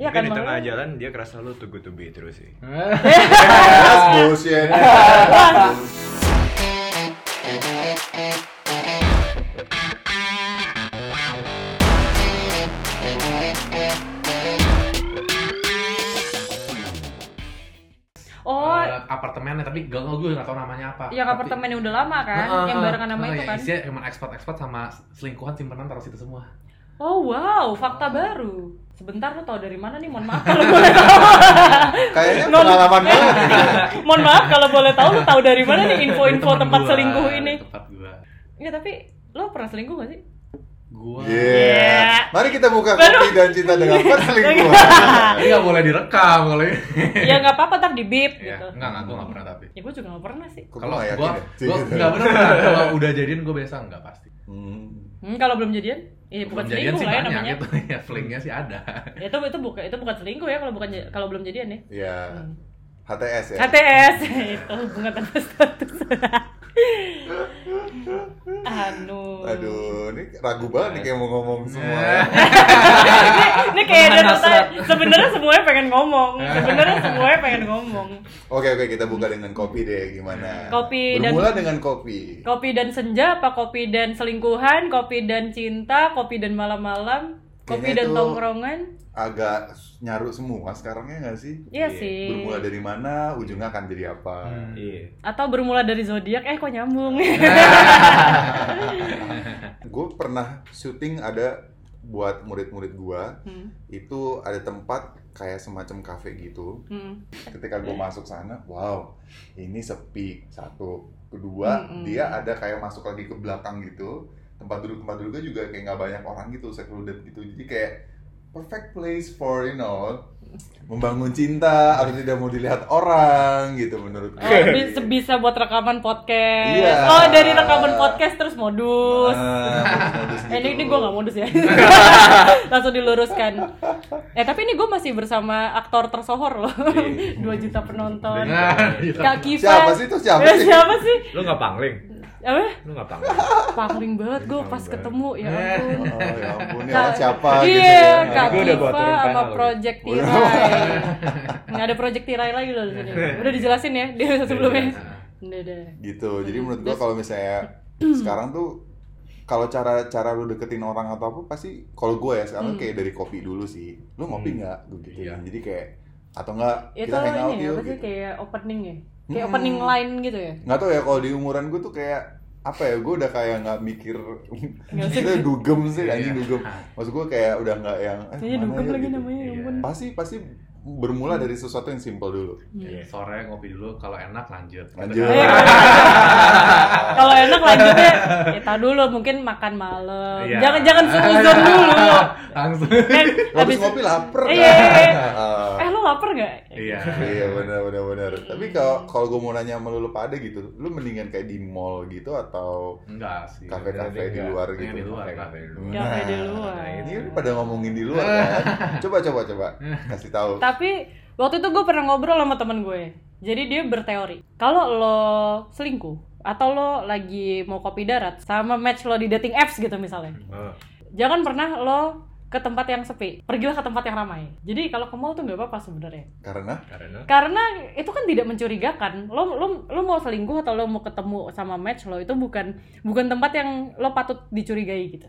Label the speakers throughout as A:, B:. A: Iya
B: Mungkin
A: kan,
B: di tengah
A: makanya.
B: jalan dia kerasa lu tuh good to be terus sih.
C: That's bullshit.
A: Oh,
D: Eh, apartemennya tapi gak tau gue gak tau namanya apa
A: yang
D: Ah, Tapi- Ah, Nah,
A: apartemen yang udah lama kan,
D: Heeh,
A: yang barengan sama
D: heeh,
A: itu
D: yang
A: kan.
D: ya, isinya cuma ekspor-ekspor sama selingkuhan simpenan taruh situ semua
A: Oh wow, fakta baru. Sebentar lu tau dari mana nih? Mohon maaf kalau boleh tahu.
C: Kayaknya
A: Non-
C: pengalaman
A: Eh,
C: banget.
A: Mohon maaf kalau boleh tahu lu tahu dari mana nih info-info
D: Dari teman
A: tempat
D: gua,
A: selingkuh
D: dari
A: ini?
D: tempat gua
A: Enggak, tapi lo pernah selingkuh gak sih?
D: gua
C: Iya.
A: Yeah.
C: Yeah. Mari kita buka
A: Iya. Baru-
C: kopi dan cinta dengan perselingkuhan.
D: ini gak boleh direkam kalau ini
A: ya nggak apa-apa ntar di beep
D: ya
A: gitu.
D: enggak enggak gua gak pernah tapi
A: Ya gue juga gak pernah sih.
C: Kok
D: kalau
C: nggak
D: gua
C: yakin
D: gua
C: ya?
D: enggak bener bener. kalau udah jadian gua biasa enggak pasti
C: Hmm.
A: Hmm, kalau belum jadian, ya bukan
D: Belum jadian
A: selingkuh
D: sih
A: lah ya
D: banyak
A: namanya.
D: gitu ya flingnya sih ada
A: Ya, itu itu bukan itu bukan selingkuh ya kalau bukan ja- kalau belum jadian ya.
C: Ya.
A: Hmm.
C: HTS ya.
A: HTS itu hubungan tanpa status. anu.
C: Aduh, ini ragu banget nih kayak mau ngomong semua.
A: ini, ini kayak ada
D: Menahan hasrat.
A: pertanyaan. Sebenarnya semuanya pengen ngomong. Sebenarnya semuanya pengen ngomong.
C: Oke oke kita buka dengan kopi deh gimana?
A: Kopi dan-
C: Bermula dengan kopi.
A: Kopi dan senja apa kopi dan selingkuhan, kopi dan cinta, kopi dan malam-malam, kopi
C: Kayaknya
A: dan
C: itu-
A: tongkrongan.
C: Agak nyaru semua sekarangnya nggak sih?
A: Iya
B: Iya.
A: sih.
C: Bermula dari mana, ujungnya akan jadi apa?
D: Hmm.
B: Iya.
A: Atau bermula dari zodiak eh kok nyambung.
C: Gue pernah syuting ada buat murid-murid gue
A: Hmm,
C: itu ada tempat kayak semacam kafe gitu.
A: hmm.
C: Ketika gue masuk sana, wow, ini sepi satu. Kedua,
A: Mm-mm.
C: dia ada kayak masuk lagi ke belakang gitu. Tempat duduk tempat duduknya juga kayak nggak banyak orang gitu, secluded gitu. Jadi kayak perfect place for you know membangun cinta atau tidak mau dilihat orang gitu menurut
A: Oh, bisa, bisa buat rekaman podcast.
C: Iya.
A: Oh, dari rekaman podcast terus modus.
C: Ah,
A: Eh,
C: gitu.
A: ini, ini gue gak modus ya Langsung diluruskan Eh tapi ini gue masih bersama aktor tersohor loh 2 juta penonton
D: Nah, gitu.
A: Kak Kiva
C: Iya. Siapa sih itu? Siapa
A: Eh,
C: sih?
A: Siapa sih?
B: Lu nggak pangling?
A: Apa?
B: Lu nggak pangling?
A: Paling banget gue pas
B: Paling
A: ketemu ya ampun
C: Oh, ya ampun, ini
A: Kak-
C: orang siapa gitu
A: Iya,
C: ya.
A: Kak
B: Gua udah
A: Kiva
B: bawa turun
A: sama
B: panel.
A: Project
C: Udah.
A: Tirai Nggak ada Project Tirai lagi loh di sini Udah dijelasin ya di episode sebelumnya
B: Iya,
C: Iya.
B: kan?
A: Udah, udah
C: Gitu. Jadi menurut gua kalau misalnya sekarang tuh kalau cara cara lu deketin orang atau apa pasti kalau gue ya
A: Mm.
C: sekarang kayak dari kopi dulu sih. Lu ngopi nggak? Gua gitu.
B: Iya.
C: Jadi kayak atau enggak
A: Itu
C: kita hang out
A: ini ya,
C: yuk
A: apa sih
C: gitu.
A: kayak opening ya? Kayak
C: Hmm.
A: opening line gitu ya?
C: Nggak tau ya kalau di umuran gue tuh kayak apa ya gue udah kayak nggak mikir kita dugem sih anjing dugem maksud gue kayak udah nggak yang eh,
A: Kayaknya
C: kemana
A: dugem Hmm.
C: yuk,
A: lagi
C: gitu.
A: namanya, ya
D: Iya.
A: ampun
C: pasti pasti bermula dari sesuatu yang simpel dulu
D: Iya, sore ngopi dulu kalau enak lanjut Gitu
C: Lanjut.
D: kan.
A: Iya. Kalau enak lanjutnya, kita dulu mungkin makan malam.
D: Iya.
A: Jangan jangan seuzon dulu.
D: langsung
A: Kan
C: habis
A: habis
C: ngopi lapar
A: Iya, iya, iya.
C: Ah.
A: Eh lo lapar nggak?
D: iya
C: iya benar benar benar tapi kalau kalau gue mau nanya sama lu lu pada gitu lu mendingan kayak di mall gitu atau
D: enggak sih
C: kafe-kafe
B: Iya,
C: di luar
D: iya,
C: gitu
D: di luar, kafe di luar.
A: Kafe di luar.
C: nah, ini kan pada ngomongin di luar kan coba coba coba kasih tahu
A: Tapi waktu itu gue pernah ngobrol sama temen gue. Jadi dia berteori kalau lo selingkuh atau lo lagi mau kopi darat sama match lo di dating apps gitu misalnya,
B: Oh.
A: jangan pernah lo ke tempat yang sepi, pergilah ke tempat yang ramai. Jadi kalau ke mall tuh nggak apa-apa sebenarnya.
C: karena
B: Karena
A: karena itu kan tidak mencurigakan lo lo lo mau selingkuh atau lo mau ketemu sama match lo itu bukan bukan tempat yang lo patut dicurigai gitu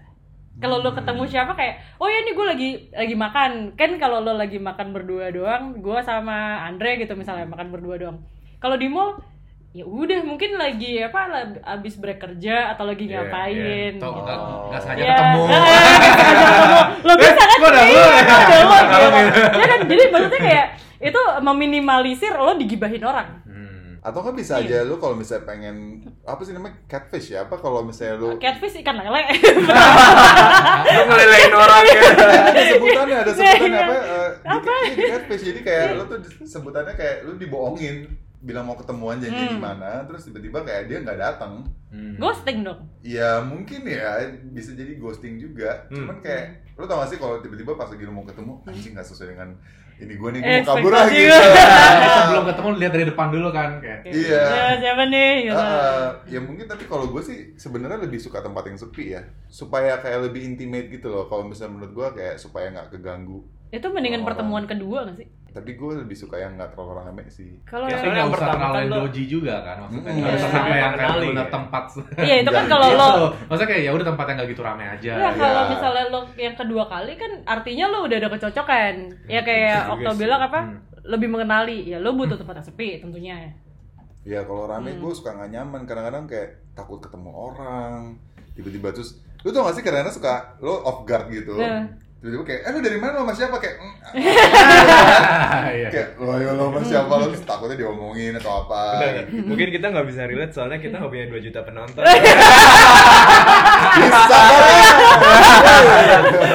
A: kalau
B: Hmm.
A: lo ketemu siapa kayak oh ya ini gue lagi lagi makan kan kalau lo lagi makan berdua doang gue sama Andre gitu misalnya makan berdua doang kalau di mall ya udah mungkin lagi apa lab- abis break kerja atau lagi
B: Iya,
A: ngapain
D: Tau, nggak nggak sengaja
A: Iya.
D: ketemu
A: Nah, sengaja ketemu. Lo bisa kan?
D: gua ada
A: Iya,
D: lo. ya?
A: gua ada lo,
D: Ada lo,
A: gitu. Ya kan? Jadi maksudnya kayak itu meminimalisir lo digibahin orang.
D: Hmm.
C: atau kan bisa aja lu kalau misalnya pengen apa sih namanya catfish ya apa kalau misalnya lu
A: Catfish ikan lele.
B: lu ngelelein orang ya.
C: ada sebutannya ada sebutannya
A: Iya.
C: apa eh, di- iya, di catfish jadi kayak lu tuh dis- sebutannya kayak lu dibohongin bilang mau ketemuan janji di mana terus tiba-tiba kayak dia nggak datang
D: Hmm.
A: Ghosting dong.
C: Ya mungkin ya bisa jadi ghosting juga.
B: Hmm.
C: Cuman kayak lu tau gak sih kalau tiba-tiba pas lagi lu mau ketemu anjing gak sesuai dengan ini gue nih gue
A: Ekspektasi
C: mau kabur lagi.
A: gua.
D: sebelum ketemu lihat dari depan dulu kan kayak
C: Iya.
A: Ya, siapa nih? Gitu.
D: Ah,
C: ya mungkin tapi kalau gue sih sebenarnya lebih suka tempat yang sepi ya supaya kayak lebih intimate gitu loh kalau misalnya menurut gue kayak supaya nggak keganggu
A: Itu mendingan
C: Oh.
A: pertemuan kedua gak sih?
C: Tapi gue lebih suka yang nggak terlalu rame sih.
A: Kalau
D: Ya,
B: Biasanya yang
D: soalnya nggak usah
B: pertama
D: terlalu
B: kan lo-
D: doji juga kan maksudnya
C: Hmm,
D: nggak usah
A: iya.
D: sampai yang kayak
B: Kenali,
D: bener
B: ya.
D: tempat
A: Iya, itu kan
C: Jangan
A: kalau lo
D: Gitu. maksudnya kayak ya udah tempat yang nggak gitu rame aja
A: Ya, kalau
C: Ya.
A: misalnya lo yang kedua kali kan artinya lo udah ada kecocokan. Ya kayak
B: Bisa juga
A: Okto
B: sih.
A: bilang apa?
D: Iya, Hmm.
A: Lebih mengenali. Ya lo butuh tempat yang sepi tentunya.
C: Ya kalau rame
A: Hmm.
C: gue suka nggak nyaman. Kadang-kadang kayak takut ketemu orang. Tiba-tiba terus lu tau gak sih kadang-kadang suka lo off guard gitu.
A: Nah. Iya.
C: Tiba-tiba kayak, eh lu dari mana lo sama siapa? Kayak, "Mm, ah."
D: Ah, iya.
C: kayak lo ya lo sama siapa lo terus takutnya diomongin atau apa.
B: Bentar, Mungkin kita nggak bisa relate soalnya kita nggak punya 2 juta penonton.
C: Bisa banget.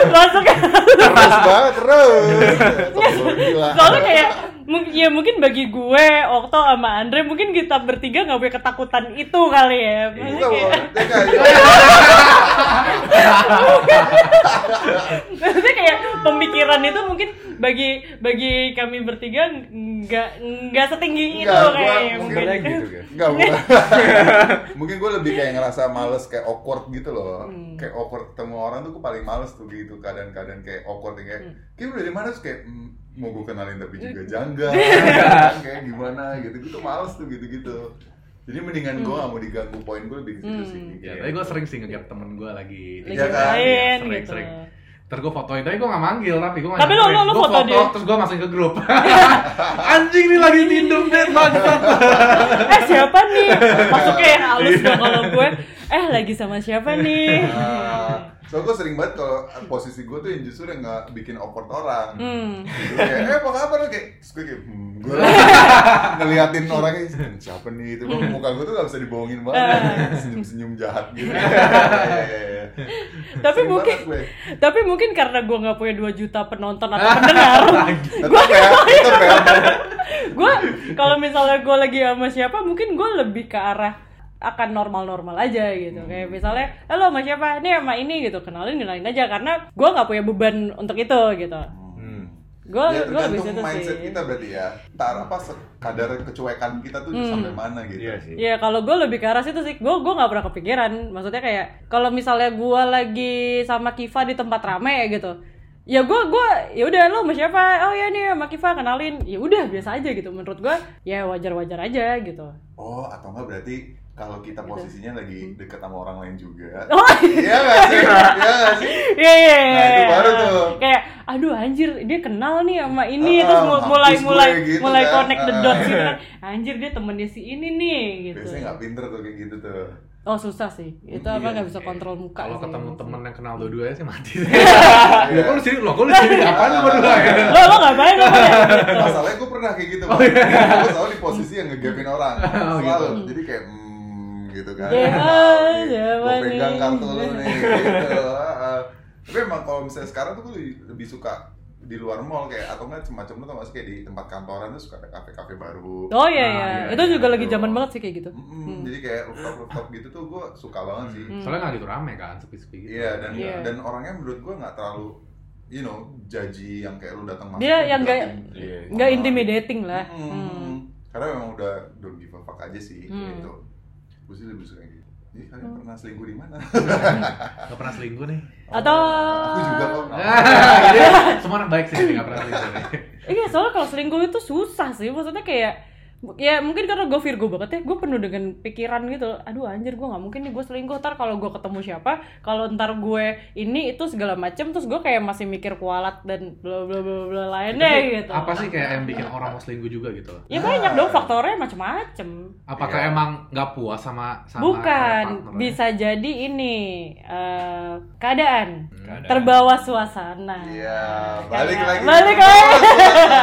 A: Masuk
C: Terus banget terus. Satu gila.
A: Soalnya kayak mung- ya mungkin bagi gue, Okto sama Andre mungkin kita bertiga nggak punya ketakutan itu kali ya. Maksudnya
C: Enggak,
A: kayak,
C: Bang. Dia kayak-
A: maksudnya kayak pemikiran itu mungkin bagi bagi kami bertiga nggak nggak setinggi itu
C: Enggak, gua
A: kayaknya
C: mungkin
A: mungkin.
B: Sebenarnya gitu kan.
C: Enggak, bukan. Mungkin gue lebih kayak ngerasa males kayak awkward gitu loh. Kayak awkward ketemu orang tuh gue paling males tuh gitu kadang-kadang kayak awkward yang kayak kayak lu dari mana terus kayak "Hmm, mau gue kenalin tapi juga janggal. kayak gimana gitu. Gue tuh males tuh gitu-gitu. Jadi mendingan gue gak mau diganggu poin gue lebih ke situ sih.
D: Ya, tapi gue sering sih ngegap temen gue lagi
A: Lagi
C: Iya kan?
A: main
D: sering,
A: gitu.
D: sering. Ntar gue fotoin, tapi gue gak manggil tapi gue
A: Tapi lu- lu- lu foto dia.
D: Terus gue masukin ke grup Anjing nih lagi minum deh bangsat
A: Eh siapa nih? Masuknya yang
C: Iya.
A: halus dong kalau gue. Eh lagi sama siapa nih?
C: Nah, soalnya gue sering banget kalau posisi gue tuh yang justru yang nggak bikin awkward orang.
A: Hmm.
C: Gitu, kayak, eh apa kabar lu? kayak terus gue kayak hmm, gue ngeliatin orangnya "Hmm, siapa nih itu Gua- muka gue tuh gak bisa dibohongin
A: Eh.
C: banget senyum senyum jahat gitu Iya, iya, iya.
A: Tapi
C: Sering
A: mungkin
C: banget gue.
A: tapi mungkin karena gue nggak punya 2 juta penonton atau pendengar,
C: tetep ya tetep ya
A: gue kalau misalnya gue lagi sama siapa mungkin gue lebih ke arah akan normal-normal aja gitu kayak
C: Hmm.
A: misalnya halo sama siapa ini sama ini gitu kenalin kenalin aja karena gue nggak punya beban untuk itu gitu
B: Hmm.
A: gue
C: ya
A: gue lebih situ
C: tergantung mindset
A: sih
C: kita berarti ya tar apa sekadar kecuekan kita tuh
A: Hmm.
C: sampai mana gitu
B: Iya sih.
A: Iya kalau gue lebih ke arah situ sih, gue gue nggak pernah kepikiran. Maksudnya kayak kalau misalnya gue lagi sama Kiva di tempat rame ya gitu, ya gue gue ya udah lo sama siapa? Oh ya nih sama Kiva kenalin, ya udah biasa aja gitu. Menurut gue ya wajar wajar aja gitu.
C: oh atau enggak berarti kalau kita posisinya lagi deket sama orang lain juga
A: Hmm. Oh,
C: iya nggak sih iya nggak sih
A: Iya iya.
C: Nah, itu
A: iya.
C: baru tuh.
A: Kayak aduh anjir dia kenal nih sama ini
C: Ah,
A: terus mu-
C: mampus
A: mulai
C: gue
A: mulai
C: gitu
A: mulai
C: kan.
A: connect the
C: Ah.
A: dots gitu kan. Anjir dia temennya si ini nih gitu.
C: biasanya nggak pinter tuh kayak gitu tuh
A: Oh susah sih. Itu
C: Iya,
A: apa nggak bisa kontrol muka.
D: Kalau
A: sih.
D: ketemu temen yang kenal dua-duanya sih mati sih Ya kok lu sini, lo kok lu sini, apaan lu berdua ya
A: Lo lo ngapain lo?
C: masalahnya gue pernah kayak gitu
A: Oh,
C: Bang.
A: iya.
C: gue selalu di posisi yang ngegapin orang
D: Oh,
A: gitu.
C: selalu jadi kayak hmm, gitu kan
A: Jangan,
C: gue
A: jangan
C: pegang
A: nih.
C: kartu lu nih gitu Ah, ah. tapi emang kalau misalnya sekarang tuh gue lebih- lebih suka di luar mall kayak atau nggak semacam lu tau gak sih kayak di tempat kantoran tuh suka ada kafe-kafe baru
A: Oh iya
D: Ah,
A: iya.
D: iya,
A: Itu
D: iya,
A: juga lagi
C: Nah, itu.
A: zaman banget sih kayak gitu.
C: Mm-mm, jadi kayak rooftop rooftop gitu tuh gue suka banget sih
A: Hmm.
D: Soalnya gak gitu rame kan, sepi-sepi gitu
C: iya dan
A: Iya.
C: dan orangnya menurut gue nggak terlalu you know jaji yang kayak lu datang masuk
A: Dia yang nggak
C: ngeliatin
B: Iya.
A: nggak
C: orang.
A: intimidating lah.
C: Mm.
A: Hmm.
C: Karena memang udah don't give a fuck aja sih
A: Hmm.
C: gitu. Gue sih lebih suka yang gitu. Ih, kalian pernah selingkuh di mana?
D: Gak pernah selingkuh nih
A: Atau
C: Aku juga kok.
A: Ah.
D: Semua anak baik sih, gak pernah selingkuh nih
A: Iya soalnya kalau selingkuh itu susah sih maksudnya kayak ya mungkin karena gue Virgo banget ya gue penuh dengan pikiran gitu aduh anjir gue nggak mungkin nih gue selingkuh ntar kalau gue ketemu siapa kalau ntar gue ini itu segala macem terus gue kayak masih mikir kualat dan bla bla bla bla lainnya
D: Tapi
A: gitu
D: Apa sih kayak yang bikin orang mau selingkuh juga gitu
A: ya banyak dong faktornya macem-macem
D: Apakah
C: Iya.
D: emang gak puas sama sama
A: Bukan,
D: partnernya?
A: bisa jadi ini eh, keadaan.
D: Hmm.
B: Keadaan.
A: terbawa suasana. Kayak-
C: Iya, balik lagi.
A: Balik lagi. Iya,
C: Suasana.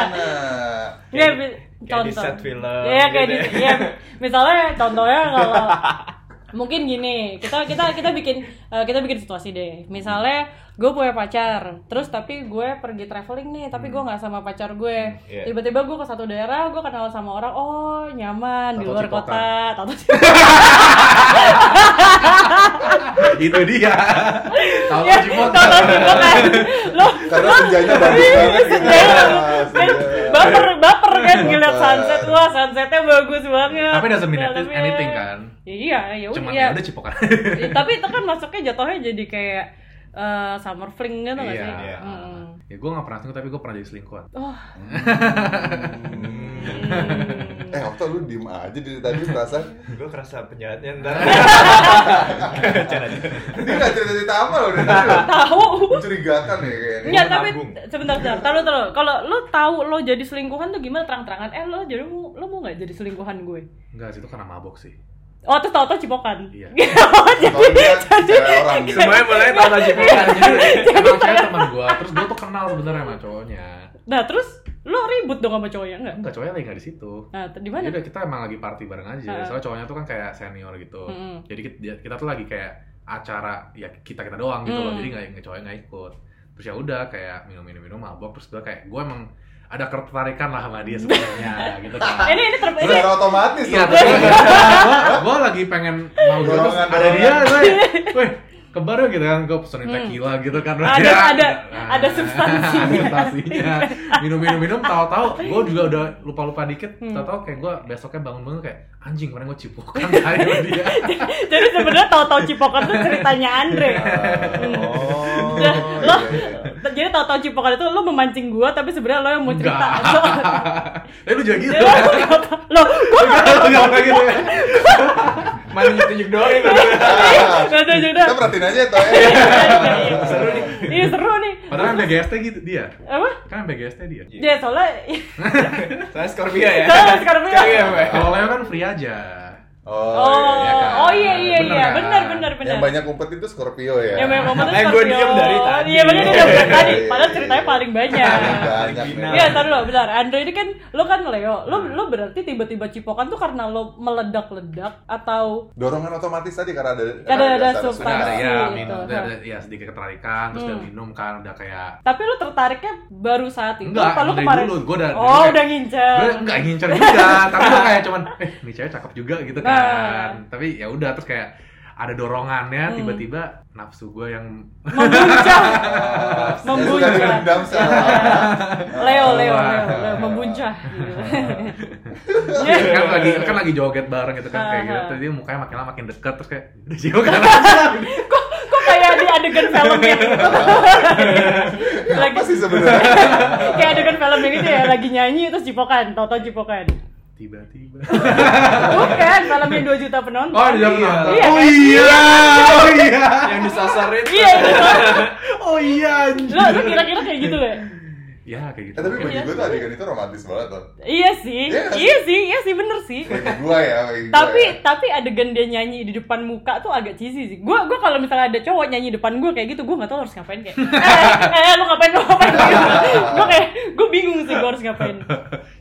B: Kayak-
A: bi-
B: kayak di set film
A: Iya, kayak di
B: gitu ya.
A: iya. misalnya contohnya kalau mungkin gini, kita kita kita bikin eh, kita bikin situasi deh. Misalnya gue punya pacar, terus tapi gue pergi traveling nih, tapi gue nggak sama pacar gue.
B: iya.
A: Tiba-tiba gue ke satu daerah, gue kenal sama orang, oh nyaman di
D: Tato
A: luar
D: cipokan.
A: kota, tato
D: Itu Gitu dia Tahu kan
A: Ya,
D: cipot
A: tato cipokan. Lo
C: Karena senjanya bagus banget gitu.
A: Senjanya
C: Ah,
A: Iya, bagus. Kan
C: senja.
A: baper baper kan ngeliat
C: Baper.
A: sunset wah sunsetnya bagus banget
D: Tapi doesn't mean
A: Dalamnya-
D: anything kan?
A: iya ya udah
D: Cuman
A: ya.
D: ya udah cipokan
A: tapi itu kan masuknya jatuhnya jadi kayak eh, summer fling gitu nggak
D: Iya.
A: sih
B: Iya.
A: Mm.
D: ya gue nggak pernah selingkuh tapi gue pernah jadi selingkuhan
A: Oh.
C: Hmm. eh waktu lu diem aja dari tadi merasa
B: Gue kerasa penjahatnya ntar. Caranya.
C: ini nggak cerita cerita apa loh dari tadi loh.
A: Tahu.
C: mencurigakan ya kayaknya
A: Enggak, tapi
B: nabung.
A: sebentar, sebentar. Taruh, taruh. Kalau lo tahu lo jadi selingkuhan tuh gimana terang-terangan? Eh, lo jadi mau lo mau nggak jadi selingkuhan gue?
D: enggak sih itu karena mabok sih
A: Oh, terus tahu-tahu cipokan.
D: Iya.
A: Oh, jadi
C: Kalau dia
A: jadi
C: kayak orang gitu.
B: Semuanya boleh tahu aja
D: emang saya teman gue terus gue tuh kenal sebenarnya sama cowoknya
A: Nah, terus lo ribut dong sama cowoknya enggak?
D: enggak cowoknya lagi nggak di situ
A: Nah, t- di
D: Ya
A: mana?
D: udah kita emang lagi party bareng aja.
A: Heeh.
D: Soalnya cowoknya tuh kan kayak senior gitu.
A: Mm-mm.
D: Jadi kita, dia- kita tuh lagi kayak acara ya kita kita doang gitu loh.
A: Mm.
D: Jadi nggak nggak- cowoknya nggak ikut. Terus ya udah kayak minum-minum minum mabok terus gue kayak gue emang ada ketertarikan lah sama dia sebenarnya gitu kan.
A: Ini ini ter ini
C: secara otomatis
D: Iya,
C: tuh.
D: terus gue- gue lagi pengen mau gue terus
C: Dorongan,
D: ada dia,
B: kan.
C: dorongan.
D: weh, weh, kebar yuk gitu kan, gue pesenin tequila gitu kan
A: Hmm. Ada-
D: Ya,
A: ada- ada substansinya.
D: ada substansinya minum minum minum tahu-tahu gue juga udah lupa-lupa dikit
A: Hmm.
D: tahu-tahu kayak gue besoknya bangun-bangun kayak anjing kemarin gue cipokan kayak dia
A: jadi sebenarnya tahu-tahu cipokan tuh ceritanya Andre.
C: oh
A: Nah, lo-
C: iya, iya.
A: Jadi tahu-tahu cipokan itu lo memancing gua tapi sebenarnya lo yang mau cerita.
D: Enggak. tapi lu juga gitu
A: Jadi lo nggak tahu. lo gua nggak
D: Lu nggak pernah gitu ya
B: Main nyetunjuk doang ya, itu.
A: nggak ada juga.
C: Iya. kita perhatiin aja toh
A: Iya,
C: eh.
A: iya, iya. Iya seru nih.
D: padahal MBGST gitu dia
A: Apa?
D: kan MBGST dia
A: Ya soalnya
B: Saya Scorpio ya.
A: Saya Scorpio.
B: Iya, Mbak.
D: kalau Leo kan free aja
A: Oh,
C: iya, kan?
A: oh iya iya
D: Bener
A: iya,
D: kan?
A: benar benar benar.
C: yang banyak umpet itu Scorpio ya
A: Yang banyak momen
B: Eh,
A: tuh
B: gua
A: Scorpio.
B: diem dari tadi.
A: Iya benar dia dari tadi.
C: Iya,
A: Padahal
C: iya,
A: ceritanya
C: iya.
A: paling banyak.
C: banyak
B: Original.
A: Iya,
C: nih.
A: ntar lo, bentar. Andre ini kan lo kan Leo. Lo lo berarti tiba-tiba cipokan tuh karena lo meledak-ledak atau
C: dorongan otomatis tadi karena ada
A: Karena ada
C: dasar
A: substansi.
D: Udah ada
A: Pasti,
D: ya
A: gitu.
D: minum, udah ada ya sedikit ketertarikan, terus udah
A: Hmm.
D: minum kan, udah kayak
A: tapi lo tertariknya baru saat itu
D: Enggak,
A: apa lo
D: dari
A: kemarin?
D: dulu. Gua udah-
A: oh,
D: dari-
A: udah ngincer.
D: gue nggak ngincer juga, tapi gue kayak cuman, eh ini cewek cakep juga gitu kan,
A: Nah.
D: tapi ya udah terus kayak ada dorongannya,
A: Hmm.
D: tiba-tiba nafsu gue yang
A: Membuncah.
C: sudah
A: membuncah.
C: dendam sama
A: Iya. Leo,
C: Ah,
A: Leo, Leo, Leo, membuncah. Gitu. Iya.
D: kan lagi kan lagi joget bareng gitu kan kayak gitu,
A: Ah.
D: terus dia mukanya makin lama makin deket terus kayak udah jauh kan, Terus
A: kok kok kayak di adegan film yang itu lagi
C: apa sih sebenarnya
A: kayak adegan film yang itu ya lagi nyanyi terus cipokan tau-tau cipokan
D: tiba-tiba
A: bukan film yang 2 juta penonton
D: oh dia
B: Iya.
D: nonton,
A: Iya,
D: oh
A: kan?
D: iya, oh iya,
B: Yang disasar itu.
A: iya itu
D: oh iya, anjir.
A: lo lo kira-kira kayak gitu ya
D: ya kayak gitu,
C: Eh, tapi
D: Kayak
C: bagi gue tuh adegan itu romantis banget loh
A: iya sih
C: Iya.
A: iya sih iya sih bener sih
C: bagi gue ya bagi gua
A: tapi
C: ya.
A: tapi adegan dia nyanyi di depan muka tuh agak cheesy sih gue gue kalau misalnya ada cowok nyanyi depan gue kayak gitu gue nggak tahu harus ngapain kayak eh, eh lu ngapain lu ngapain gue kayak gue bingung sih gue harus ngapain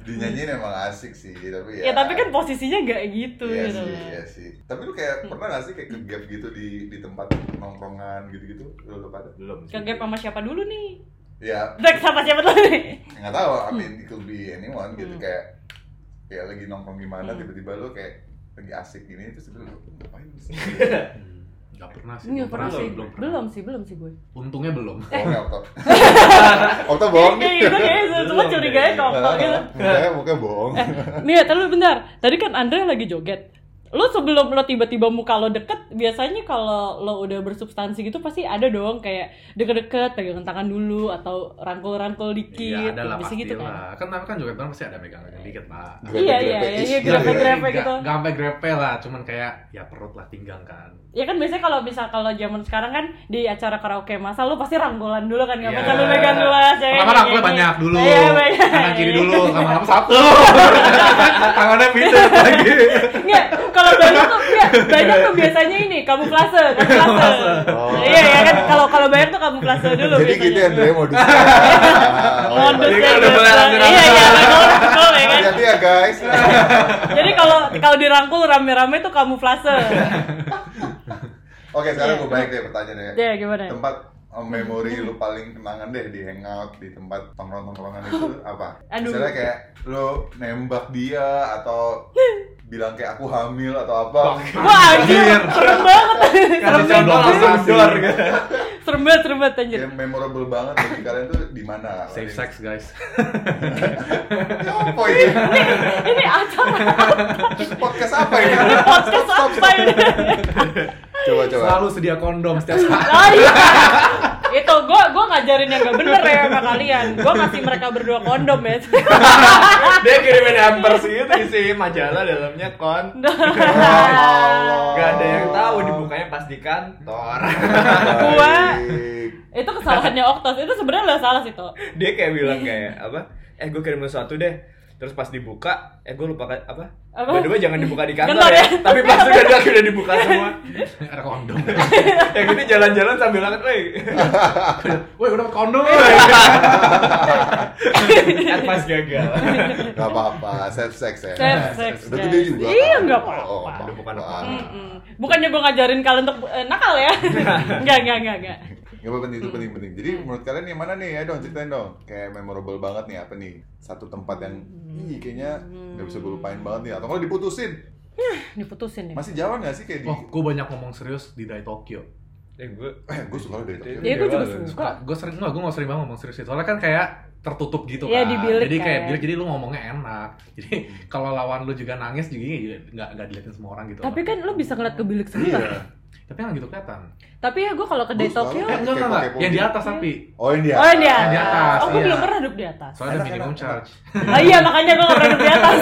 C: dinyanyiin emang asik sih tapi
A: ya
C: ya
A: tapi kan posisinya nggak gitu
C: Iya
A: gitu
C: sih, iya sih. Tapi lu kayak pernah gak sih kayak ke gap gitu di di tempat nongkrongan gitu-gitu lu lu pada?
B: Belum. sih.
A: Kegap sama siapa dulu nih?
C: Ya,
A: Drag sama siapa dulu nih?
C: nggak tahu. I mean, it could be anyone gitu
A: Hmm.
C: kayak kayak lagi nongkrong gimana
A: Hmm.
C: tiba-tiba lu kayak lagi asik gini terus lu ngapain sih?
D: Hmm, nggak pernah sih,
A: Nggak pernah sih,
D: belum pernah,
A: belum sih, belum sih gue.
D: untungnya belum,
C: Bohong ya, Okto? Okto bohong?
A: Kayak gitu kayaknya cuma
B: Belum,
A: curiganya
B: kayaknya.
A: kok kok gitu.
C: Mukanya, mukanya bohong.
A: Nih, tadi Eh, lu bentar. Tadi kan Andre lagi joget. Lo sebelum lo tiba-tiba muka lo deket, biasanya kalau lo udah bersubstansi gitu pasti ada dong kayak deket-deket, pegangan tangan dulu atau rangkul-rangkul dikit,
D: iya ada lah
A: bisa
D: pasti
A: gitu kan.
D: lah, kan tapi kan juga pasti ada megang-megang dikit lah
A: Iya, iya, iya, iya, grepe-grepe
D: Nggak-
A: gitu.
D: nggak sampai grepe lah, cuman kayak ya perut lah pinggang kan.
A: Ya kan biasanya kalau misal kalau zaman sekarang kan di acara karaoke masal lo pasti rangkulan dulu kan, nggak
D: Iya.
A: yeah. lu pegang gelas. ya kan?
D: Pertama rangkul banyak dulu,
A: Iya, banyak.
D: kanan kiri dulu, lama-lama satu. Tangannya pinter lagi.
A: Enggak, kalau banyak tuh enggak, banyak tuh biasanya ini kamuflase, kamuflase.
C: Oh.
A: Iya ya kan kalau kalau banyak tuh kamuflase dulu
C: Jadi
A: biasanya.
C: gitu Andre modusnya. Oh, iya,
A: Modus
B: Jadi
A: ya,
B: kalau udah
A: gitu.
B: mulai rame-rame.
A: Iya iya, betul, betul, ya kan.
C: Hati-hati ya guys.
A: Jadi kalau kalau dirangkul rame-rame tuh kamuflase.
C: Oke, sekarang gue balik deh pertanyaannya.
A: Iya, gimana?
C: Tempat eh, memori
A: Hmm.
C: lu paling kenangan deh di hangout di tempat tongkrong-tongkrongan itu apa?
A: Aduh.
C: Misalnya kayak lu nembak dia atau bilang kayak aku hamil atau apa?
A: Wah, anjir, serem banget.
D: Kan
A: Serem
D: bisa
A: banget,
D: langsung dor gitu.
A: serem banget, serem banget anjir.
C: Yang memorable banget bagi kalian tuh di mana?
D: Safe sex guys.
C: Ya, Apa ini?
A: Ini acara
C: Podcast apa ini?
A: podcast apa ini?
C: Coba coba.
D: Selalu sedia kondom setiap saat.
A: Oh iya. itu gue gua ngajarin yang gak bener ya sama kalian gue ngasih mereka berdua kondom ya
B: Dia kirimin hampers gitu isi majalah dalamnya kon. Gak ada yang tahu dibukanya pas di kantor.
A: Gua- itu kesalahannya Oktos itu sebenarnya gak salah sih toh
B: Dia kayak bilang
A: Iya.
B: kayak apa? Eh gue kirim sesuatu deh. Terus pas dibuka, eh gue lupa ka- apa?
A: Apa?
B: By the way, jangan dibuka di kantor
A: Kantor
B: ya.
A: ya.
B: Tapi pas udah udah- udah dibuka semua.
D: ada kondom
B: Yang ini jalan-jalan sambil angkat, "Woi,
D: woi udah dapet kondom
B: advance Kan gagal."
C: Gak apa-apa, safe sex ya.
A: Safe sex,
C: Udah
A: guys.
C: gede juga.
A: Iya,
C: kan?
A: nggak apa-apa.
C: Oh,
B: Udah bukan
C: apa-apa.
B: apa-apa.
A: Mm-mm. bukannya gue ngajarin kalian untuk eh, nakal ya nggak nggak nggak nggak
C: Gak apa penting itu penting
A: Hmm.
C: penting. Jadi menurut kalian yang mana nih? Ya dong ceritain dong. Kayak memorable banget nih apa nih? Satu tempat yang
A: Hmm.
C: ih kayaknya nggak bisa gue lupain banget nih. Atau kalau diputusin
A: diputusin ya
C: masih jalan nggak sih kayak di?
D: oh gue banyak ngomong serius di Dai Tokyo
B: Eh gue
C: Eh gue suka lo dari Tokyo.
A: ya gue juga
B: Dewa,
A: suka
D: gue sering nggak gue nggak sering banget ngomong serius sih. soalnya kan kayak tertutup gitu
A: Iya,
D: kan
A: di bilik
D: jadi kayak
A: kan.
D: bilik, jadi lu ngomongnya enak jadi kalau lawan lu juga nangis juga nggak nggak diliatin semua orang gitu
A: tapi kan lo bisa ngeliat ke bilik sebelah
C: Iya.
D: tapi yang gitu kelihatan
A: tapi ya gue kalau ke
C: Gua
A: Day
C: selalu-
A: Tokyo
D: eh, enggak enggak enggak
C: Kepo-kepo
D: yang di
C: gitu.
D: atas tapi
C: Oh ini dia.
A: oh ini ya
D: Di atas,
A: oh gue
D: iya.
A: belum pernah duduk di atas
D: soalnya ada
C: Enak,
D: minimum
C: enak,
D: charge
A: ah iya makanya gue nggak pernah duduk di atas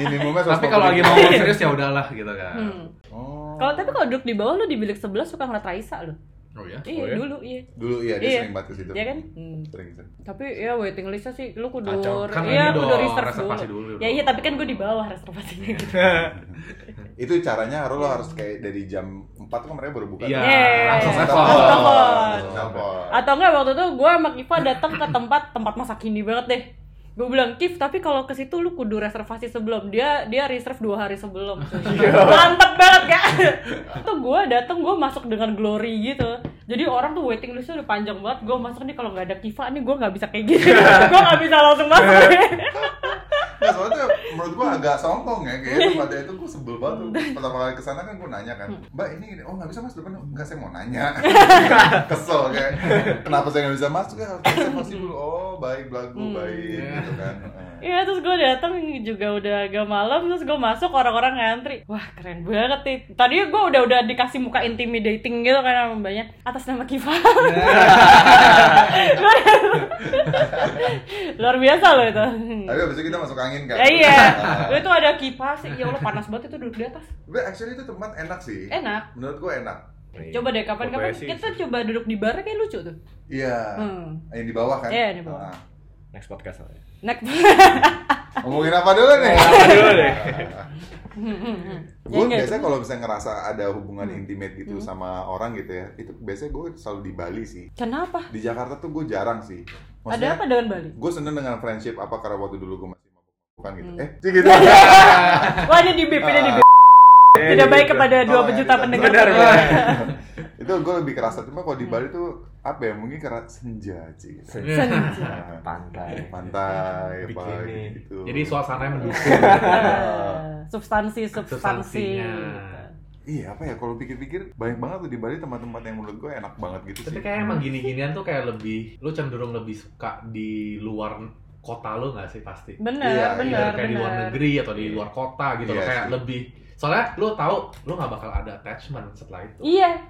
C: Minimumnya
D: tapi kalau lagi mau ngomong serius ya udahlah gitu kan
A: Hmm.
C: Oh.
A: kalau tapi kalau duduk di bawah lo di bilik sebelah suka ngeliat Raisa lo
D: oh ya
A: iya
B: ya?
A: dulu iya
C: dulu iya dia
A: Iya.
C: sering banget ke situ.
A: Iya kan? Hmm.
C: Sering sering.
A: Tapi ya waiting listnya sih lu kudu
D: Kacau. Kan
A: iya
D: ini
A: kudu
D: dong,
A: reserve
D: reservasi
A: dulu.
D: dulu
A: Ya
D: dong.
A: iya tapi kan gue di bawah reservasinya gitu.
C: Itu caranya harus lo harus kayak dari jam 4 kan mereka baru buka.
D: iya
A: Yeay.
D: langsung
C: Langsung
D: telepon
A: Langsung telepon.
C: Langsung telepon.
A: Atau enggak waktu itu gue sama Kiva datang ke tempat tempat masak Hindi banget deh. Gue bilang Kif, tapi kalau ke situ lu kudu reservasi sebelum dia dia reserve dua hari sebelum. Mantep banget ya. Itu gue datang gue masuk dengan glory gitu. Jadi orang tuh waiting listnya udah panjang banget. Gue masuk nih kalau nggak ada Kiva nih gue nggak bisa kayak gini. gue nggak bisa langsung masuk.
C: Nah, soalnya tuh menurut gua agak sombong ya kayak pada itu gua sebel banget tuh. Pertama kali kesana kan gua nanya kan,
A: Hmm.
C: Mbak ini ini." oh nggak bisa mas depan, enggak saya mau nanya. Kesel kayak kenapa saya nggak bisa masuk ya? Harus reservasi dulu. Oh baik belagu baik gitu kan. Eh,
A: Hmm. Iya terus gue datang juga udah agak malam terus gue masuk orang-orang ngantri wah keren banget nih tadi gue udah udah dikasih muka intimidating gitu kan sama mbaknya atas nama Kiva luar biasa loh itu
C: Tapi abis itu kita masuk angin kan.
A: ya iya
C: Nah,
A: itu ada kipas ya Allah panas banget itu duduk di atas
C: Tapi actually itu tempat enak sih.
A: enak
C: Menurut gua enak.
E: Iya.
A: coba deh kapan-kapan kita coba duduk di bar kayak lucu tuh
C: Iya.
A: Hmm.
C: Yang di bawah kan?
A: Iya, yang di bawah.
C: Ah.
B: next podcast lah ya.
A: Nek-
C: Nah, Ngomongin apa dulu nih?
B: Apa dulu deh?
A: Hmm, hmm, hmm.
C: gue
A: Ya,
C: biasanya kalau bisa ngerasa ada hubungan intimate gitu sama orang gitu ya itu biasanya gue selalu di Bali sih
A: kenapa
C: di Jakarta tuh gue jarang sih
A: ada apa
C: maksudnya
A: dengan Bali
C: gue seneng dengan friendship apa karena waktu dulu gue masih mabuk-mabukan gitu eh sih gitu
A: wah ini di bip ini di bip
D: Ah. Iya,
A: tidak baik kepada
D: Oh,
C: Tolong ya,
A: 2 iya, juta
C: bisa-
A: pendengar
B: Benar, benar.
C: itu gue lebih kerasa cuma kalau di Bali tuh apa ya mungkin karena senja sih
A: Senja.
C: Nah,
B: Pantai.
C: pantai apa
B: Bikini.
C: gitu
D: jadi suasananya mendukung
A: substansi substansi
D: Substansinya.
C: iya apa ya kalau pikir-pikir banyak banget tuh di Bali tempat-tempat yang menurut gue enak banget gitu
D: tapi
C: sih
D: kayak emang gini-ginian tuh kayak lebih lu cenderung lebih suka di luar kota lu nggak sih pasti
A: bener
C: Iya,
A: bener
D: Either
A: bener
D: kayak di luar negeri atau di luar kota gitu loh
C: Iya
D: kayak
C: sih.
D: lebih soalnya lu tahu lu nggak bakal ada attachment setelah itu
A: iya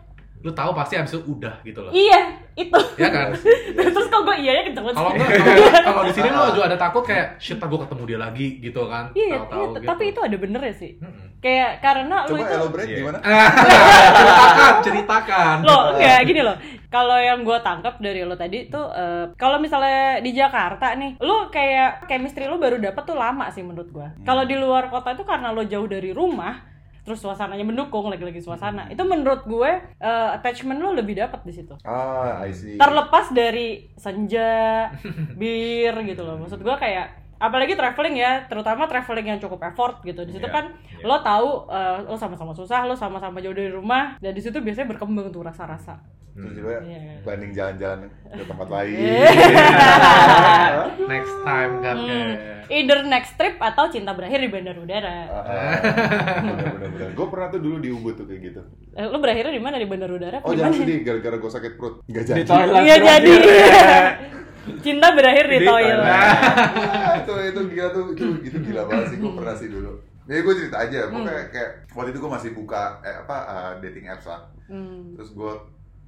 D: lu tahu pasti abis itu udah gitu loh
A: iya itu
D: ya kan
A: terus kok gue iya ya kenceng banget
D: kalau
A: sih.
D: nggak kalau- kalau di sini lu juga ada takut kayak shit gue ketemu dia lagi gitu kan
A: iya iya,
D: tahu-tahu
A: iya,
D: gitu.
A: tapi itu ada bener ya sih
D: Mm-mm.
A: kayak karena lu
C: coba
A: itu
C: elaborate
B: Iya.
C: gimana
D: ceritakan ceritakan
A: lo enggak gini loh kalau yang gue tangkap dari lo tadi tuh eh, kalau misalnya di Jakarta nih lo kayak chemistry lo baru dapet tuh lama sih menurut gue
B: Hmm.
A: kalau di luar kota itu karena lo jauh dari rumah terus suasananya mendukung lagi-lagi suasana
B: Hmm.
A: itu menurut gue eh, attachment lo lebih dapet di situ
C: ah I
B: Iya.
C: see
A: terlepas dari senja, bir gitu loh. Maksud gua kayak apalagi traveling ya, terutama traveling yang cukup effort gitu. Di situ
B: Iya,
A: kan lo tahu eh, lo sama-sama susah, lo sama-sama jauh dari rumah dan di situ biasanya berkembang tuh rasa-rasa.
C: terus juga
A: Iya.
C: banding jalan-jalan ke tempat lain Iya.
D: next time kan
A: Hmm.
D: kayak
A: Either next trip atau cinta berakhir di bandar udara.
C: bener-bener gue pernah tuh dulu di Ubud tuh kayak gitu
A: Eh, lo berakhirnya di mana di bandar udara? apa
C: oh
A: di
C: jangan
A: mana?
C: sedih gara-gara gue sakit perut gak jadi
B: Di toilet.
A: Iya jadi.
B: Iya.
A: cinta berakhir di
B: Di
A: toilet.
B: toilet.
C: Ah, itu itu gila tuh itu itu gila banget sih gue pernah sih dulu ya gue cerita aja gue kayak kayak waktu itu gue masih buka eh, apa eh, dating apps lah
A: Hmm.
C: terus gue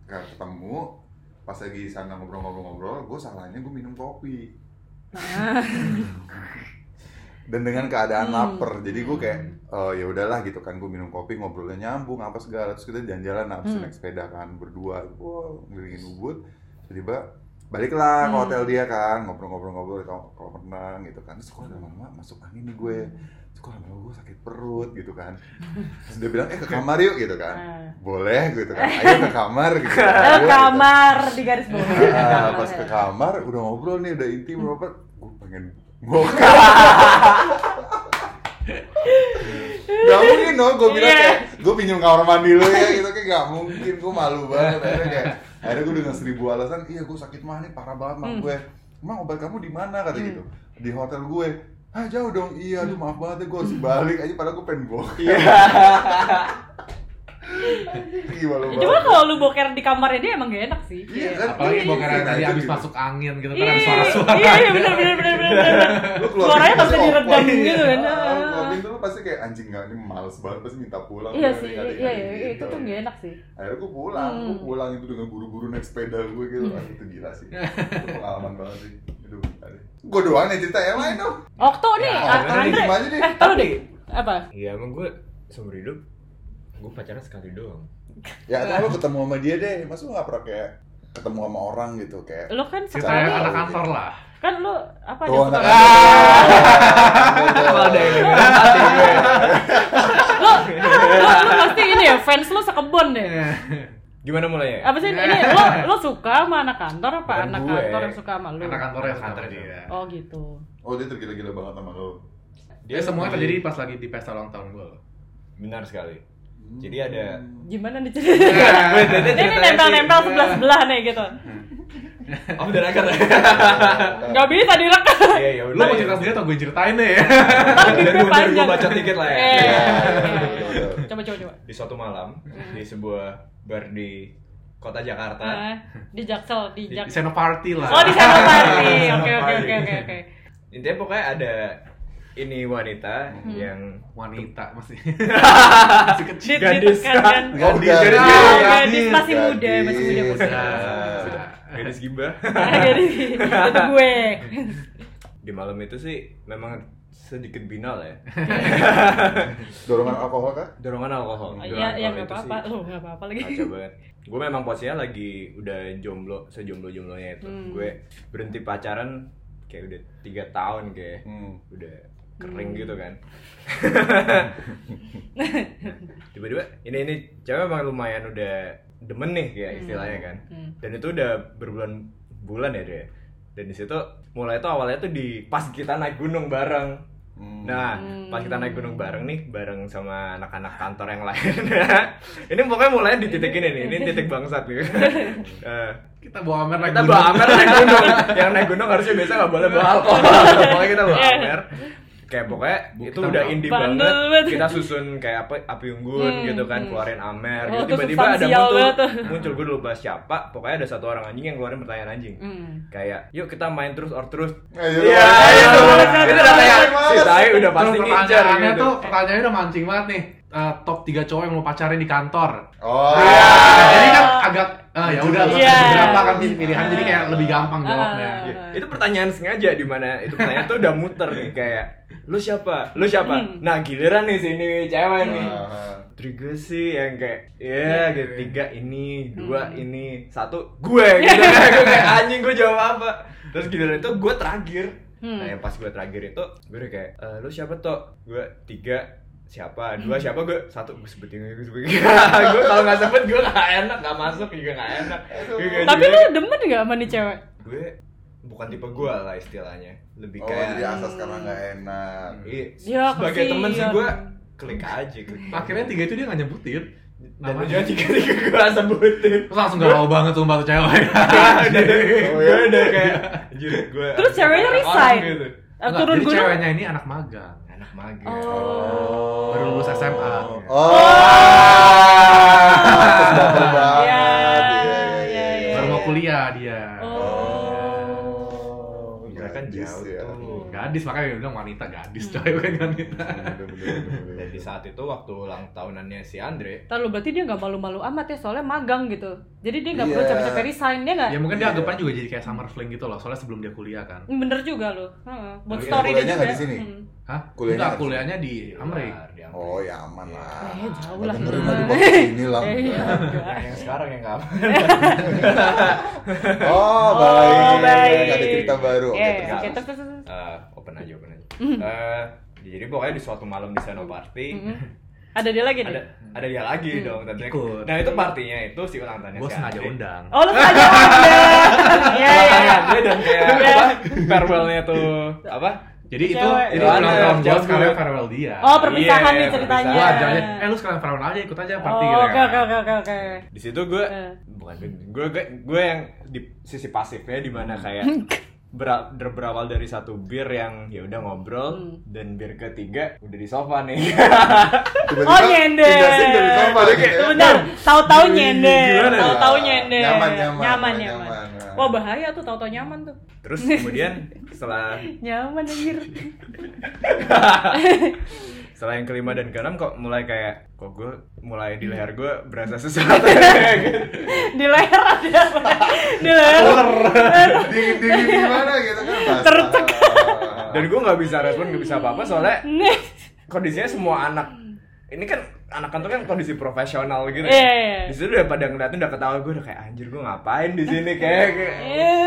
C: ketemu pas lagi sana ngobrol-ngobrol-ngobrol gue salahnya gue minum kopi
A: Nah,
C: dan dengan keadaan
A: Hmm.
C: lapar jadi gue kayak eh, ya udahlah gitu kan gue minum kopi ngobrolnya nyambung apa segala terus kita jalan-jalan habis itu
A: Hmm.
C: naik sepeda kan berdua wow ngelilingin ubud tiba baliklah ke
A: Hmm.
C: hotel dia kan ngobrol-ngobrol-ngobrol kalau kalau renang gitu kan terus gue lama-lama masuk angin nih gue
A: Hmm.
C: terus gue lama-lama gue sakit perut gitu kan terus dia bilang eh ke kamar yuk gitu kan
A: nah.
C: boleh gitu kan ayo ke kamar gitu
A: Ke
C: kan. Ayo, gitu.
A: kamar di garis bawah.
C: Ah,
A: Kamar,
C: pas
A: ya.
C: ke kamar udah ngobrol nih udah intim
A: Hmm.
C: berapa gue pengen bokap gak mungkin dong gue bilang
A: Iya.
C: kayak gue pinjam kamar mandi lu ya gitu kayak gak mungkin gue malu banget akhirnya kayak akhirnya gue dengan seribu alasan iya gue sakit mah nih parah banget mah
A: Hmm.
C: gue emang obat kamu di mana kata gitu di hotel gue ah jauh dong iya
A: Hmm.
C: aduh maaf banget ya gue harus balik aja padahal gue pengen bokap
B: Iya.
C: gimana
A: Ya,
C: banget
A: Cuma kalau lu boker di kamarnya dia emang gak enak sih.
C: Iya, kan?
D: apalagi
C: Iya,
D: bokeran
C: iya,
D: tadi
C: iya,
D: abis
C: gitu.
D: masuk angin gitu kan
A: Iya,
D: ada suara-suara
A: iya, iya, bener, bener, bener, bener, bener.
C: Lu keluar
A: Suaranya
C: pintu
A: pasti
C: pasti
A: diredam
C: awkward.
A: gitu kan.
C: Ah, lu keluar pintu lu pasti kayak anjing nggak ini males banget pasti minta pulang
A: Iya
C: Kayak
A: sih,
C: kali-kali
A: iya, iya, iya, itu
C: gitu.
A: tuh gak enak sih.
C: akhirnya gue pulang gue
A: Hmm.
C: pulang itu dengan buru-buru naik sepeda gue gitu Wah, itu gila sih itu pengalaman banget sih itu gue doang nih cerita yang lain dong
A: Okto nih,
C: Ya,
A: A-
C: udah,
A: Andre.
C: diem aja deh.
A: Eh, tahu deh. Apa?
E: Iya emang gue seumur hidup gue pacaran sekali doang.
C: ya atau lu ketemu sama dia deh masa lu nggak pernah kayak ketemu sama orang gitu kayak
A: Lu kan
D: ceritanya
A: sekali,
D: anak kantor lah
A: kan lu apa ada
C: Tuh, anak Gitu.
A: foto-
D: kalau ada yang
B: Oh.
A: Lu, lu, lu pasti ini ya, fans lu sekebon deh.
E: Gimana mulainya?
A: Apa sih ini? Lu, lu suka sama anak kantor apa
E: Bukan
A: anak
E: gue.
A: kantor yang suka sama lu?
D: anak kantor yang santai dia
A: Oh gitu.
C: oh dia tergila-gila banget sama lo
D: dia
E: Iya.
D: semuanya terjadi pas lagi di pesta ulang tahun gue loh
E: Benar sekali. Jadi ada-
C: Hmm.
A: Gimana nih ceritanya?
E: Wait, wait, wait,
A: Ini
E: ceritanya
A: nempel-nempel
E: sih.
A: sebelah-sebelah nih gitu.
E: Off the record.
A: Gak bisa direkam.
E: Iya ya
D: lu
E: udah.
D: mau
E: ya.
D: cerita sendiri atau gue ceritain deh ya
A: Ntar
E: Biar
A: bibir
E: gua- biar
A: panjang.
E: gua bacot dikit lah ya.
A: Iya,
E: Iya,
A: iya,
C: betul,
A: iya.
C: betul.
A: Coba coba coba.
E: Di suatu malam
A: Hmm.
E: di sebuah bar di kota Jakarta.
A: Eh, Di Jaksel, di
D: di
A: Jaksel.
D: seno party lah
A: Oh di sana party.
E: Di sana
A: Oke oke
E: party.
A: oke oke oke. Hmm.
E: Intinya pokoknya ada ini wanita yang
D: wanita masih
A: Di
E: masih kecil
A: di
E: gadis
A: kan.
C: Oh,
D: Gadis,
C: gadis.
D: gadis.
A: Ah, gadis
D: Gadis.
A: masih muda, masih muda
C: Gadis.
A: muda.
E: Nah, gadis gibah.
A: Ah, Gadis itu gue.
E: Di malam itu sih memang sedikit binal ya.
C: dorongan alkohol kan
E: Dorongan alkohol.
A: Iya
E: Dorongan
A: iya
E: alkohol
A: nggak
E: itu
A: apa-apa.
E: sih
A: Lu nggak apa-apa lagi.
E: Kacau banget. Gue memang posisinya lagi udah jomblo, sejomblo-jomblonya itu.
A: Hmm.
E: Gue berhenti pacaran kayak udah tiga tahun kayak
C: Hmm.
E: udah kering gitu kan. Nah, Tiba-tiba ini ini cewek emang lumayan udah demen nih kayak istilahnya kan.
A: Hmm.
E: Dan itu udah berbulan-bulan ya dia. Dan di situ mulai tuh awalnya tuh di pas kita naik gunung bareng.
C: Hmm.
E: Nah,
A: Hmm.
E: pas kita naik gunung bareng nih, bareng sama anak-anak kantor yang lain. ini pokoknya mulai di titik ini nih, ini titik bangsat nih. Eh,
D: kita bawa amer lagi
E: kita bawa amer naik gunung. yang naik gunung harusnya biasa nggak boleh bawa alkohol. pokoknya kita bawa
A: Iya.
E: amer. Kayak pokoknya
D: Bu,
E: itu
D: kita
E: udah
D: bawa-
E: indie
A: Bandel
E: banget.
A: banget.
E: Kita susun kayak apa api unggun
A: Hmm,
E: gitu kan,
A: hmm.
E: keluarin amer.
A: Oh,
E: gitu.
A: itu
E: Tiba-tiba ada
A: substansial
E: muncul,
A: banget tuh.
E: muncul gue dulu bahas siapa. Pokoknya ada satu orang anjing yang keluarin pertanyaan anjing.
A: Hmm.
E: Kayak, yuk kita main terus or terus
C: Ayo,
E: Iya, itu
C: ayo, ayo,
E: itu udah kayak si tai udah
D: Terus
E: pasti ngincer
D: pertanyaannya
E: gitu.
D: tuh pertanyaannya udah mancing banget nih Eh, top 3 cowok yang mau pacarin di kantor
C: Oh.
E: Iya.
D: Nah, jadi kan agak eh, ya udah
A: Iya.
D: berapa kan pilihan jadi kayak lebih gampang jawabnya.
A: Ah.
E: Iya. Itu pertanyaan sengaja di mana itu pertanyaan tuh udah muter nih kayak lu siapa? Lu siapa?
A: Hmm.
E: Nah, giliran nih sini cewek nih.
C: Ah.
E: Trigo sih yang kayak ya gitu tiga ini
A: Iya,
E: dua
A: Hmm.
E: ini satu gue gitu kan gue kayak anjing gue jawab apa terus giliran itu gue terakhir
A: Hmm.
E: nah yang pas gue terakhir itu gue udah kayak "Eh, lu siapa toh gue tiga siapa dua
A: Hmm.
E: siapa gue satu gue sebutin gue sebutin gue kalau nggak sebut gue nggak enak nggak masuk juga nggak enak Gue kayak
A: Tapi
E: gini.
A: lu demen gak sama nih cewek?
E: gue bukan tipe gue lah istilahnya lebih
C: Oh,
E: kayak
C: jadi asas karena nggak enak.
E: Iya,
A: Ya,
E: sebagai temen sih
A: kasihan.
E: gue klik aja klik
D: Akhirnya tiga itu dia nggak nyebutin.
E: dan
D: Namanya.
E: ujungnya tiga tiga gue sebutin
D: Terus langsung galau banget sumpah tuh cewek.
E: Ah,
C: Oh,
E: gue
C: iya.
E: udah kayak anjir gue
A: Terus ceweknya
E: orang
A: resign.
E: gitu.
A: Eh,
D: Enggak,
A: turun
D: Nah, jadi
A: gunung.
D: ceweknya ini anak magang.
E: anak mager
A: Oh.
D: Baru lulus SMA.
E: Oh.
C: Oh.
A: Iya, iya,
C: iya,
A: iya.
D: Baru mau kuliah dia.
A: Oh.
C: Oh.
E: Mereka kan
C: Gadis
E: jauh
C: ya.
E: tuh
C: Hmm,
A: Iya.
D: Nggak gadis makanya dia bilang wanita gadis
A: Hmm.
D: coy bukan wanita
E: Dan di saat itu waktu ulang tahunannya si Andre,
A: Tahu berarti dia nggak malu-malu amat ya soalnya magang gitu. Jadi dia nggak perlu
C: Iya.
A: capek-capek resign dia nggak.
D: ya mungkin dia anggapan juga jadi kayak summer fling gitu loh soalnya sebelum dia kuliah kan
A: Hmm, Bener juga loh. Heeh. Buat
C: Tapi
A: story dia
C: kuliahnya
A: juga.
C: nggak di sini?
A: Hmm.
D: hah
C: Kuliahnya
D: kuliahnya
C: apa sih?
D: kuliahnya di Amerika
E: Di Amrik.
C: Oh ya aman lah.
A: Eh, jauh
C: Nggak
A: lah.
C: Dengerin lah di podcast ini lah.
A: Eh, iya, enggak.
E: Nah, yang sekarang yang nggak apa.
A: Oh,
C: Oh baik.
A: baik.
C: Ada cerita baru. Oke,
A: Iya,
C: terus.
A: Oke, terus terus, terus.
E: Eh, open aja, open aja.
A: Mm-hmm.
E: Eh, jadi pokoknya di suatu malam di Seno Party,
A: Mm-mm. Hmm. Ada dia lagi nih.
E: ada ada dia lagi
A: Mm-hmm.
E: dong tentunya.
D: Ikut.
E: Nah itu partinya itu si ulang tahunnya
D: gue
E: Iya, si
D: sengaja
E: Andre.
D: undang
A: Oh, lu ada. Iya, iya,
E: Tangan
A: iya.
E: Andre dan kayak
A: Iya.
E: apa farewellnya tuh apa?
D: jadi itu
A: Cewek. Iya,
D: itu
E: Cewek.
D: ulang tahun gue
E: Cewek.
D: sekalian farewell dia
A: Oh, perpisahan
E: Iya,
A: nih ceritanya.
D: gue
E: perpisahan.
D: aja eh lu sekalian farewell aja ikut aja
A: iya. Oh,
D: party gitu
A: Oke,
D: kan.
A: oke, oke, oke, oke.
E: Di situ gue
A: Eh.
E: bukan gue gue gue yang di sisi pasifnya di mana kayak bera- der- berawal dari satu bir yang ya udah ngobrol
A: Hmm.
E: dan bir ketiga udah di sofa nih.
C: Tiba-tiba
A: Oh,
D: kan
A: nyender.
C: pindahin dari kamar gitu ya.
A: Sebentar, tahu-tahu nyender,
E: Gimana ya?
A: tahu-tahu nyender.
C: Nyaman, nyaman,
A: nyaman.
C: nyaman, nyaman.
A: Wah, bahaya tuh tahu-tahu nyaman tuh.
E: Terus kemudian setelah
A: Nyaman anjir.
E: setelah yang kelima dan keenam kok mulai kayak kok gue mulai di leher gue berasa sesuatu gitu.
A: di leher ada di leher
C: Dingin dingin gimana gitu kan? basah.
A: Tercek.
E: dan gue nggak bisa respon nggak bisa apa-apa soalnya kondisinya semua anak ini kan anak kantor kan kondisi profesional gitu
A: Iya, iya.
E: di situ udah pada ngeliatin udah ketawa gue udah kayak anjir gue ngapain di sini kayak, kayak
A: Iya.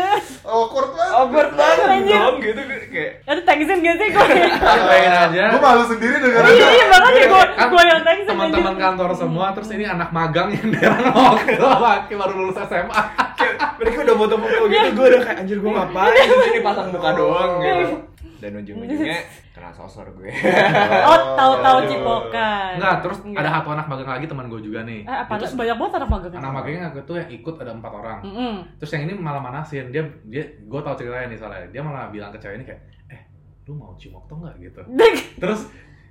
C: Awkward banget.
A: Oh,
E: awkward banget
A: Anjir.
E: dong gitu Gue kayak
A: ada tangsin gak sih gue
D: pengen aja
C: Gue malu sendiri dengar
A: iya iya banget ya gue
D: Kan
A: gue yang tangsin
D: teman-teman kantor semua terus ini anak magang yang daerah Oke lah baru lulus SMA
A: Iya.
E: kayak "Ah, mereka udah foto-foto gitu gue udah kayak anjir gue ngapain di sini pasang muka doang gitu dan ujung-ujungnya kena sosor gue
A: oh tahu-tahu
E: Aduh.
A: cipokan
D: Enggak, Iya. terus ada satu anak magang lagi teman gue juga
A: Iya.
D: nih
A: eh apa
D: Dia
A: lu Hmm.
D: tuh
A: banyak banget anak magang
D: anak magangnya aku tuh yang ikut ada empat orang
A: Mm-mm.
D: terus yang ini malah manasin dia dia gue tau ceritanya nih soalnya dia malah bilang ke cewek ini kayak eh lu mau cium waktu nggak gitu terus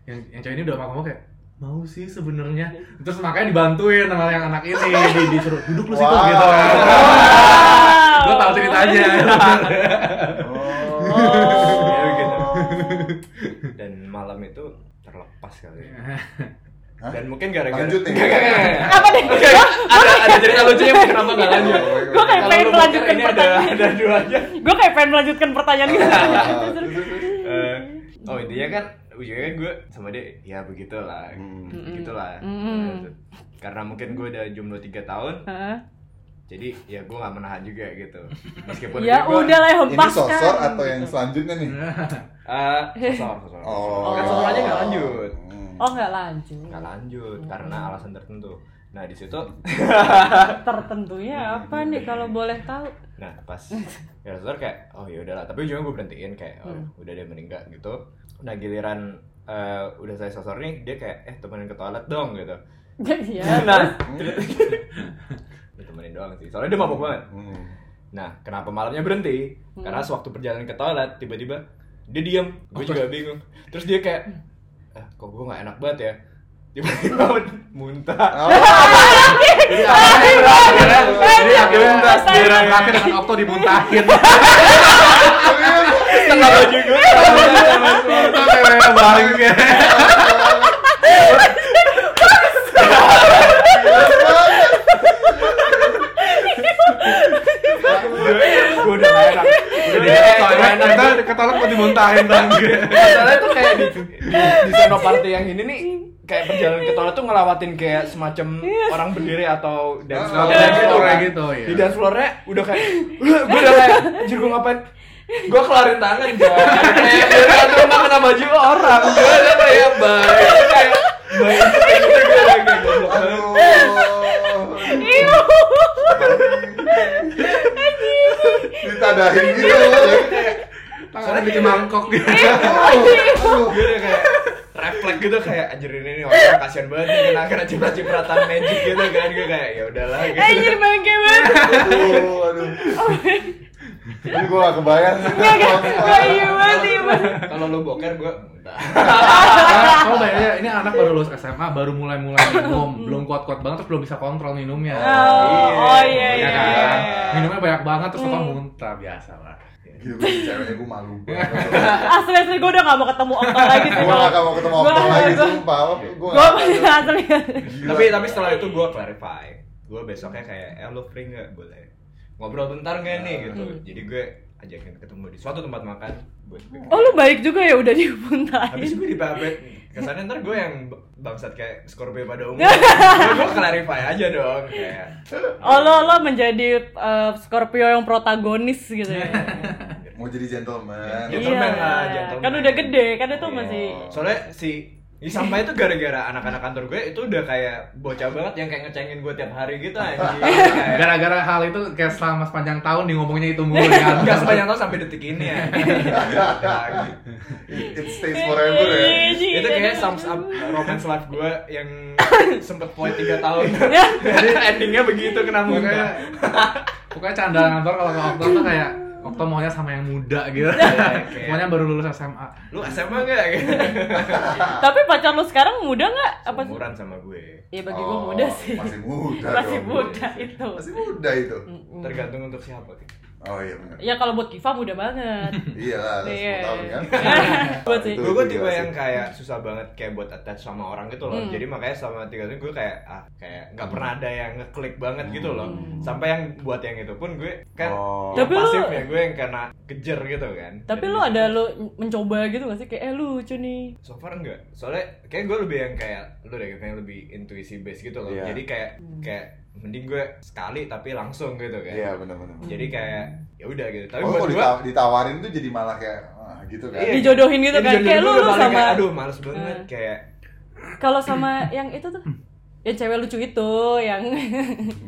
D: yang yang cewek ini udah mau kayak mau sih sebenarnya terus makanya dibantuin sama yang anak ini di- disuruh duduk lu situ
C: Wow. Oh.
D: gitu
A: kan. Wow.
D: gue tau ceritanya
A: Oh.
E: Ya, gitu. dan malam itu terlepas kali ya.
C: Hah?
E: dan mungkin gara-gara
C: Lanjut nih.
E: Nggak, nggak, nggak, nggak.
A: apa deh
E: Oke, ada ada cerita lucunya mungkin kenapa nggak
C: Iya,
E: lanjut?
A: gue kayak
E: Kalau
A: Iya. pengen
E: lu
A: melanjutkan
E: buka ini ada
A: pertanyaan
E: ada dua aja.
A: gue kayak pengen melanjutkan pertanyaan gitu
C: Iya.
E: Eh, oh intinya kan ujungnya gue sama dia ya begitulah,
C: Hmm.
E: begitulah.
A: Mm-mm.
E: Eh, Karena mungkin gue udah jomblo tiga tahun,
A: Heeh.
E: jadi ya gue nggak menahan juga gitu. Meskipun
A: ya
E: gue-
A: udah lah
C: Ini
A: hempaskan
C: sosor atau yang
A: Gitu.
C: selanjutnya nih?
E: Eh, sosor, sosor.
C: Oh.
E: Kan sosor aja nggak lanjut.
C: Hmm.
A: oh nggak lanjut
E: Nggak lanjut karena alasan tertentu. Nah di situ,
A: tertentunya apa nih kalau boleh tahu
E: nah pas ya sosor kayak oh ya udahlah. Tapi ujungnya gue berhentiin kayak oh
A: Hmm.
E: udah deh mending nggak gitu. Nah giliran eh, udah saya sosor nih dia kayak eh temenin ke toilet dong gitu.
A: ya
E: Nah, temenin doang sih. Soalnya dia mabuk banget.
C: Hmm.
E: Nah, kenapa malamnya berhenti? Karena sewaktu perjalanan ke toilet tiba-tiba dia diam. Gue juga bingung. Terus dia kayak, eh, kok gue nggak enak banget ya? Tiba-tiba muntah.
C: Oh,
D: jadi akhirnya jadi akhirnya
E: Tuntas,
D: akhirnya
E: tuntas.
D: terakhir dengan Okto dimuntahin
E: Setengah baju gue.
D: Kayak bangke
E: Gue udah nggak enak. Udah
D: Jadi
E: deh, nggak enak.
D: kita ketolak kok dimuntahin bangke
E: Soalnya tuh kayak di, di, di Senoparty yang ini nih kayak perjalanan ke toilet tuh ngelawatin kayak semacam orang berdiri atau dance floor
D: Iya,
E: dance floor
D: kayak
E: kan.
D: gitu, iya.
E: Di dance floor-nya udah kayak gue udah kayak anjir gue ngapain? Gue kelarin tangan gue. Kayak gue kena kena baju orang. Gue udah kayak baik. Kayak baik.
C: aduh. Ditadahin gitu.
D: tangannya bikin mangkok gitu
C: Aduh.
E: Gue udah kayak refleks gitu kayak anjir ini nih orang kasihan banget nih kena kena ciprat-cipratan magic gitu kan gue kayak ya udahlah gitu.
A: anjir Eh, bangke banget
C: Aduh, aduh. Ini gue gak kebayang sih.
A: Nggak, nggak. Nggak, iya banget, iya banget.
E: Kalau lu boker gue muntah.
D: Karena kalau bayangnya oh, iya, ini anak baru lulus SMA baru mulai mulai minum belum kuat kuat banget terus belum bisa kontrol minumnya
A: Oh, oh iya iya.
D: Iya kan?
A: iya. Hmm.
D: minumnya banyak banget terus apa muntah biasa lah
C: Gitu gue ceweknya gue malu banget.
A: asli asli gue Ah, udah gak mau ketemu Okto lagi sih
C: gue
A: kalau
C: gak mau ketemu
A: Gua-
C: Okto lagi
A: gua-
C: sumpah. Gue
A: gue asli
E: tapi tapi setelah itu gue clarify gue besoknya kayak eh lo free nggak boleh ngobrol bentar nggak nih gitu
A: Hmm.
E: jadi gue ajakin ketemu di suatu tempat makan buat
A: oh lu baik juga ya udah dimuntahin
E: habis gue di kesannya ntar gue yang b- bangsat kayak Scorpio pada umumnya gue clarify aja dong kayak
A: oh lo lo menjadi eh, Scorpio yang protagonis gitu ya
C: Mau jadi gentleman.
E: Iya. Gentleman lah, gentleman. Iya.
A: kan udah gede kan itu masih
E: soalnya si Ih, sampai itu gara-gara anak-anak kantor gue itu udah kayak bocah banget yang kayak ngecengin gue tiap hari gitu anjing. Kayak-
D: Gara-gara hal itu kayak selama sepanjang tahun di ngomongnya itu mulu kan.
E: Enggak sepanjang tahun sampai detik ini ya. Lagi.
C: It it stays forever
A: Iya,
C: ya.
E: itu kayak sums up romance life gue yang sempet poin 3 tahun.
A: Iya.
E: Jadi endingnya begitu kena
D: Pokoknya,
E: muka.
D: pokoknya candaan kantor kalau ke Okto tuh kayak Okto maunya sama yang muda gitu.
E: Iya,
D: maunya baru lulus SMA.
E: Lu SMA enggak?
A: tapi pacar lu sekarang muda nggak apa sih
E: Umuran sama gue.
A: ya bagi gue
C: Oh,
A: muda sih
C: Masih muda.
A: masih
C: dong.
A: muda itu
C: Masih muda itu.
A: Mm-mm.
E: Tergantung untuk siapa. Ki.
C: Oh iya benar.
A: ya kalau buat Kiva muda banget
C: Iya lah,
A: Iya.
C: 10 tahun kan.
A: Buat sih.
E: Gue gue
C: itu
E: tipe
C: jelas
E: yang
C: sih.
E: kayak susah banget kayak buat attach sama orang gitu loh.
A: Hmm.
E: Jadi makanya selama tiga tahun gue kayak ah kayak nggak pernah ada yang ngeklik banget gitu loh. Sampai yang buat yang itu pun gue kan yang
C: Oh.
A: Hmm. Tapi lu-
E: pasif ya gue yang kena kejer gitu kan.
A: tapi
E: Dan
A: lu
E: di-
A: ada lu mencoba gitu gak sih kayak eh lucu nih
E: So far enggak. Soalnya kayak gue lebih yang kayak lu deh kayak lebih intuisi based gitu loh.
C: Iya.
E: Jadi kayak kayak mending gue sekali tapi langsung gitu kan.
C: Iya benar-benar.
E: Jadi kayak ya udah gitu. Tapi
C: Oh,
E: buat
C: kalau
E: gue
C: dita- ditawarin tuh jadi malah kayak ah, gitu kan.
E: Iya.
A: dijodohin gitu kan kayak lu lu sama
E: kayak, aduh males banget
A: Hmm.
E: kayak
A: kalau sama yang itu tuh ya cewek lucu itu yang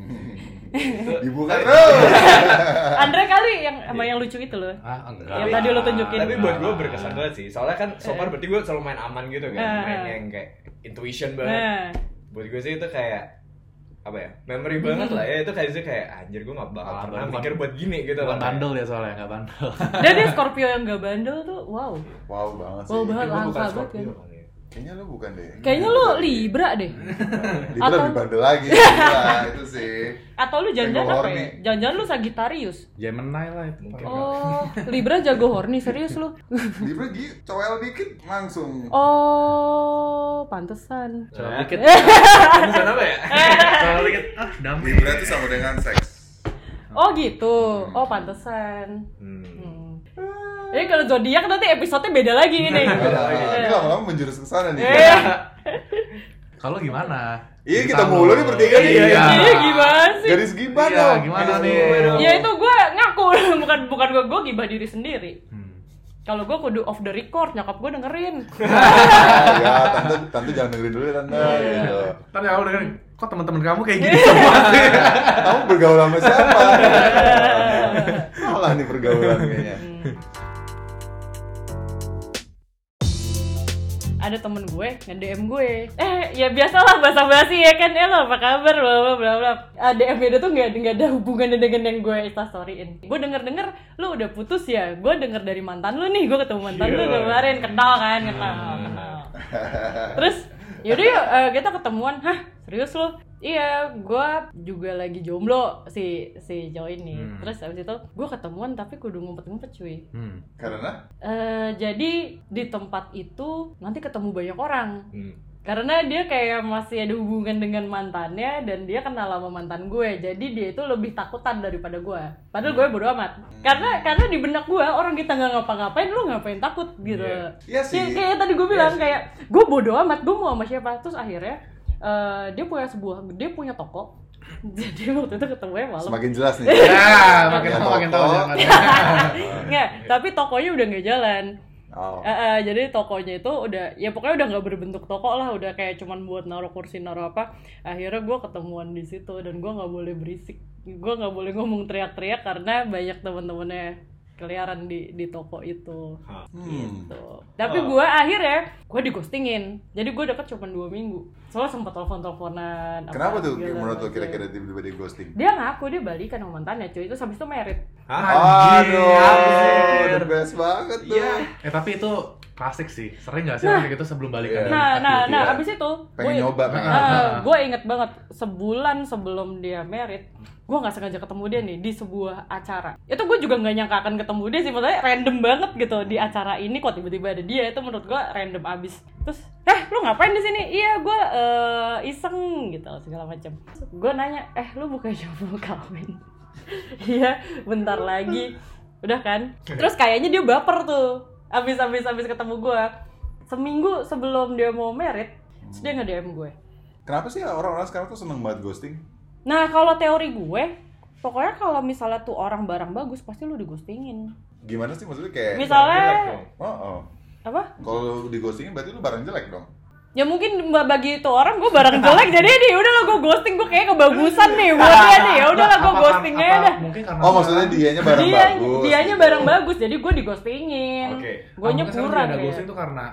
C: Dibuka terus.
A: Andre kali yang sama yang lucu itu loh
D: Ah,
A: Yang tadi lo tunjukin.
E: Tapi buat gue berkesan banget sih. Soalnya kan so far berarti gue selalu main aman gitu kan.
A: Ah. Eh.
E: Main yang kayak intuition banget.
A: nah
E: Buat gue sih itu kayak apa ya? Memory banget
A: Hmm.
E: lah ya. Itu kayak itu kayak anjir gue gak bakal
D: Bukan-
E: pernah
D: bukan-
E: mikir buat gini gitu
D: Bukan
E: loh.
D: bandel ya soalnya, nggak bandel.
A: dan dia Scorpio yang gak bandel tuh wow
C: Wow banget sih.
A: Wow banget.
E: Gue bukan
A: Langka banget
E: Scorpio
A: kan.
E: kali ya.
C: Kayaknya lu bukan deh.
A: kayaknya lu Libra deh
C: Libra
A: Atau-
C: lebih bandel lagi. Nah, itu sih.
A: atau lu jangan-jangan apa
C: Jago
A: ya
C: horny.
A: jangan-jangan lu Sagittarius
D: Gemini lah itu.
E: Mungkin.
A: oh Libra jago horny serius lu
C: Libra gitu, cowel dikit langsung.
A: oh pantesan
D: Coba dikit.
E: Pesan Ya. apa ya?
D: Coba dikit. Ah, damai.
C: Libra itu sama dengan seks.
A: oh gitu oh pantesan Hmm. Jadi kalau zodiak nanti episode-nya beda lagi ini.
D: Iya,
C: Nah,
A: Eh.
C: ini lama-lama menjurus ke sana nih.
A: Eh,
D: Kalau gimana?
C: Iya, kita mulu nih bertiga nih.
D: Iya.
A: Iya gimana sih?
C: Garis gibah
D: Iya,
C: dong.
D: gimana
C: Garis
D: nih?
C: gibah dong.
A: Ya itu gue ngaku bukan bukan gue gue gibah diri sendiri.
D: Hmm.
A: Kalau gue kudu off the record, nyokap gue dengerin.
C: Ah, ya, tante, tante jangan dengerin dulu ya tante.
D: Iya,
C: Gitu.
D: Ntar ya udah kok teman-teman kamu kayak gitu? gini semua sih?
C: Kamu bergaul sama siapa? Salah nih pergaulan kayaknya.
A: Hmm. Ada temen gue nge-DM gue. Eh, ya biasalah basa-basi ya kan. Eh, lo apa kabar? Bla bla bla bla. Ah, DM nya tuh nggak nggak ada hubungannya dengan yang gue Eh, instastoryin. Gue denger denger lo udah putus ya. Gue denger dari mantan lo nih. Gue ketemu mantan lo kemarin kenal kan, kenal, kenal. Terus yaudah yuk eh, kita ketemuan. Hah serius lo? Iya, gue juga lagi jomblo si si cowok ini.
D: Hmm.
A: Terus abis itu gue ketemuan tapi kudu ngumpet-ngumpet cuy.
D: Hmm.
C: Karena
A: Eh, jadi di tempat itu nanti ketemu banyak orang.
E: Hmm.
A: Karena dia kayak masih ada hubungan dengan mantannya dan dia kenal sama mantan gue. Jadi dia itu lebih takutan daripada gue. Padahal gue bodo amat. Karena karena di benak gue orang kita nggak ngapa-ngapain lu ngapain takut gitu.
E: Iya.
C: Iya sih.
A: Kayak, kayak tadi gue bilang kayak gue bodo amat gue mau sama siapa. Terus akhirnya eh, dia punya sebuah dia punya toko. Jadi waktu itu ketemu malam.
C: semakin jelas nih.
D: Ya, makin tahu makin tahu jangan.
A: Nggak, tapi tokonya udah nggak jalan.
C: Oh.
A: Eh, eh, jadi tokonya itu udah ya pokoknya udah nggak berbentuk toko lah udah kayak cuman buat naruh kursi naruh apa akhirnya gue ketemuan di situ dan gue nggak boleh berisik gue nggak boleh ngomong teriak-teriak karena banyak teman-temannya keliaran di di toko itu
C: Hmm.
A: gitu tapi
E: Oh.
A: gue akhirnya gue digostingin jadi gue deket cuman dua minggu soalnya sempat telepon teleponan
C: Kenapa tuh menurut lo kira-kira tiba-tiba di ghosting?
A: dia ngaku dia balikan sama mantannya cuy itu habis itu merit
E: Hah?
C: Aduh,
E: anjir.
C: the best banget tuh.
E: Iya.
D: Eh tapi itu klasik sih sering nggak sih
A: Nah.
D: orang kayak gitu sebelum balikan
C: Nah,
A: Nah, nah,
C: gitu
A: nah,
C: ya.
A: abis itu
C: pengen
A: gue-
C: nyoba pengen
D: Ah.
A: gue Eh, inget banget sebulan sebelum dia merit gue nggak sengaja ketemu dia nih di sebuah acara itu gue juga nggak nyangka akan ketemu dia sih maksudnya random banget gitu di acara ini kok tiba-tiba ada dia itu menurut gue random abis terus eh lu ngapain di sini iya gue eh, iseng gitu segala macam gue nanya eh lu bukannya mau kawin iya bentar lagi udah kan terus kayaknya dia baper tuh abis abis abis ketemu gue seminggu sebelum dia mau merit terus dia nge DM gue
C: kenapa sih orang-orang sekarang tuh seneng banget ghosting
A: Nah, kalau teori gue, pokoknya kalau misalnya tuh orang barang bagus, pasti lu digostingin.
C: gimana sih
D: Eh,
C: maksudnya kayak
A: Misalnya,
C: oh, oh.
A: apa?
C: kalau di ghostingin berarti lu barang jelek dong
A: Ya mungkin mbak bagi itu orang gue barang jelek, jadi nih udah lah gue ghosting, gue kayak kebagusan nih buat dia nih, ya udah lah gue
D: Apa-
A: ghosting
D: apa-
A: aja ya dah.
D: mungkin karena
C: oh maksudnya dianya barang
A: Dia,
C: bagus
A: dianya
C: gitu.
A: barang bagus, jadi gue digostingin.
E: Oke.
A: Gue
D: Mungkin kan sekarang
A: nyepurang
D: jadi ada
A: ya.
D: ghosting tuh karena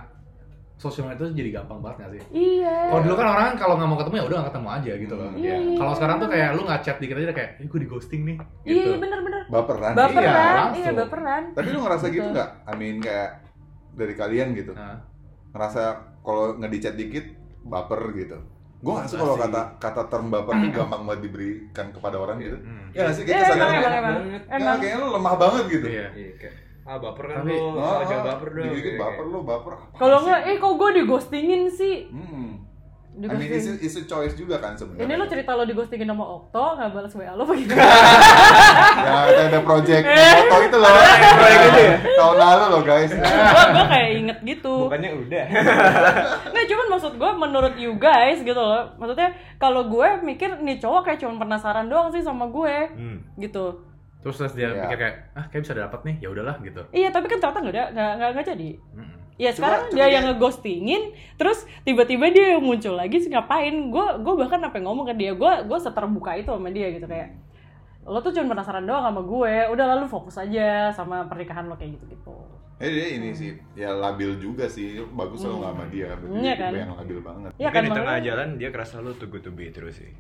D: sosial media itu jadi gampang banget nggak sih
A: Iya.
D: kalau dulu kan orang kalau nggak mau ketemu ya udah nggak ketemu aja gitu loh
A: Iya.
D: kalau sekarang tuh kayak lu nggak chat dikit aja kayak "Ih, gue di ghosting nih gitu
A: Iya, bener-bener.
C: baperan
A: Baperan,
D: Iya,
A: iya,
D: langsung.
A: baperan.
C: tapi lu ngerasa gitu
A: Betul.
C: nggak I mean kayak dari kalian gitu
D: nah,
C: ngerasa kalau ngedicet dikit baper gitu gue nggak suka
D: Nggak
C: kalau
D: sih.
C: kata kata term baper tuh gampang banget diberikan kepada orang gitu
D: hmm.
C: ya nggak sih kayak
A: Iya,
C: kesannya
A: emang,
C: kayak,
A: emang, emang.
C: "Nggak,
A: Emang.
C: kayaknya lu lemah banget gitu
D: iya
E: Iya, kayak, ah baper kan
D: Tapi-
E: lo,
C: Oh,
E: jangan baper dong. iya,
C: dikit
E: Kayak-
C: baper lu baper apa
A: Kalau
C: sih?
A: nggak, eh kok gue digostingin sih?
C: hmm. I mean, it's,
A: Digostingin.
C: a- it's a choice juga kan sebenarnya.
A: Ini lo cerita lo digostingin sama Okto, nggak balas WA lo begitu.
C: Ya, kita ada project
A: Eh.
C: foto itu loh. project itu ya. Tahun lalu loh, guys.
E: Ah.
A: gue gue kayak inget gitu
E: Bukannya udah.
A: nggak cuman maksud gue menurut you guys gitu loh maksudnya kalau gue mikir nih cowok kayak cuman penasaran doang sih sama gue
E: Hmm.
A: gitu
D: terus terus dia
C: Iya.
D: pikir kayak ah kayak bisa dapat nih ya udahlah gitu
A: iya tapi kan ternyata nggak ada nggak nggak nggak jadi
E: Hmm.
D: Mm-mm.
A: ya sekarang
C: cuma
A: dia
C: dia-
A: yang ngeghostingin terus tiba-tiba dia yang muncul lagi sih ngapain gue gue bahkan apa ngomong ke dia gue gue seterbuka itu sama dia gitu kayak lo tuh cuma penasaran doang sama gue udah lalu fokus aja sama pernikahan lo kayak gitu gitu
C: Eh, dia ini sih, ya labil juga sih. Bagus kalau nggak sama dia kan. Berarti
A: Iya
C: dia
A: kan?
C: tipe yang labil banget.
A: Iya
E: Mungkin
A: kan,
E: di tengah
A: makanya-
E: jalan dia kerasa lo tuh good to be terus sih.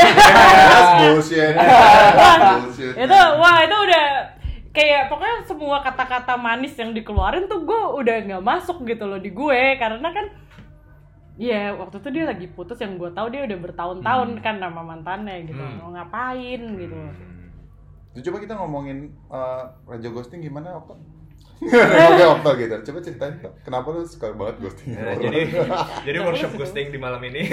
C: That's bullshit. bullshit.
A: itu wah itu udah kayak pokoknya semua kata-kata manis yang dikeluarin tuh gue udah nggak masuk gitu loh di gue karena kan ya waktu itu dia lagi putus yang gue tahu dia udah bertahun-tahun kan sama mantannya gitu
D: Hmm.
A: mau ngapain gitu
C: Tuh, Nah, coba kita ngomongin eh, Raja Ghosting gimana, Okto? Oke, Okto gitu. Coba ceritain, Okto. kenapa lu suka banget ghosting
E: Nah,
C: orang?
E: jadi jadi workshop ghosting di malam ini.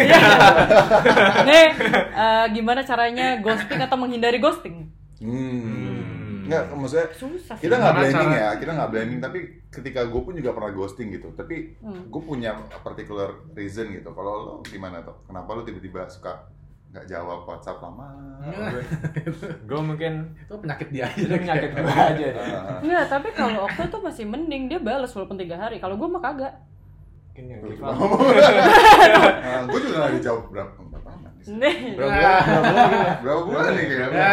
A: nih eh, gimana caranya ghosting atau menghindari ghosting
C: Hmm. Nggak, maksudnya
A: susah sih
C: kita nggak
D: Gimana
C: blaming
D: cara-
C: ya kita nggak blaming tapi ketika gue pun juga pernah ghosting gitu tapi
A: Hmm.
C: gue punya particular reason gitu kalau lo gimana tuh kenapa lo tiba-tiba suka nggak jawab WhatsApp lama
E: gue mungkin
D: itu penyakit dia aja
F: Itu penyakit
D: Kayak,
F: gue aja deh.
C: Ah,
A: Nggak, tapi kalau Okto tuh masih mending dia balas walaupun tiga hari. Kalau gue mah kagak.
E: mungkin yang
C: tuh,
E: rival.
C: ngomong. Ah, gue juga nggak dijawab berapa berapa lama nih?
A: Nih,
E: Berapa bulan? Berapa bulan?
C: berapa bulan nih kayaknya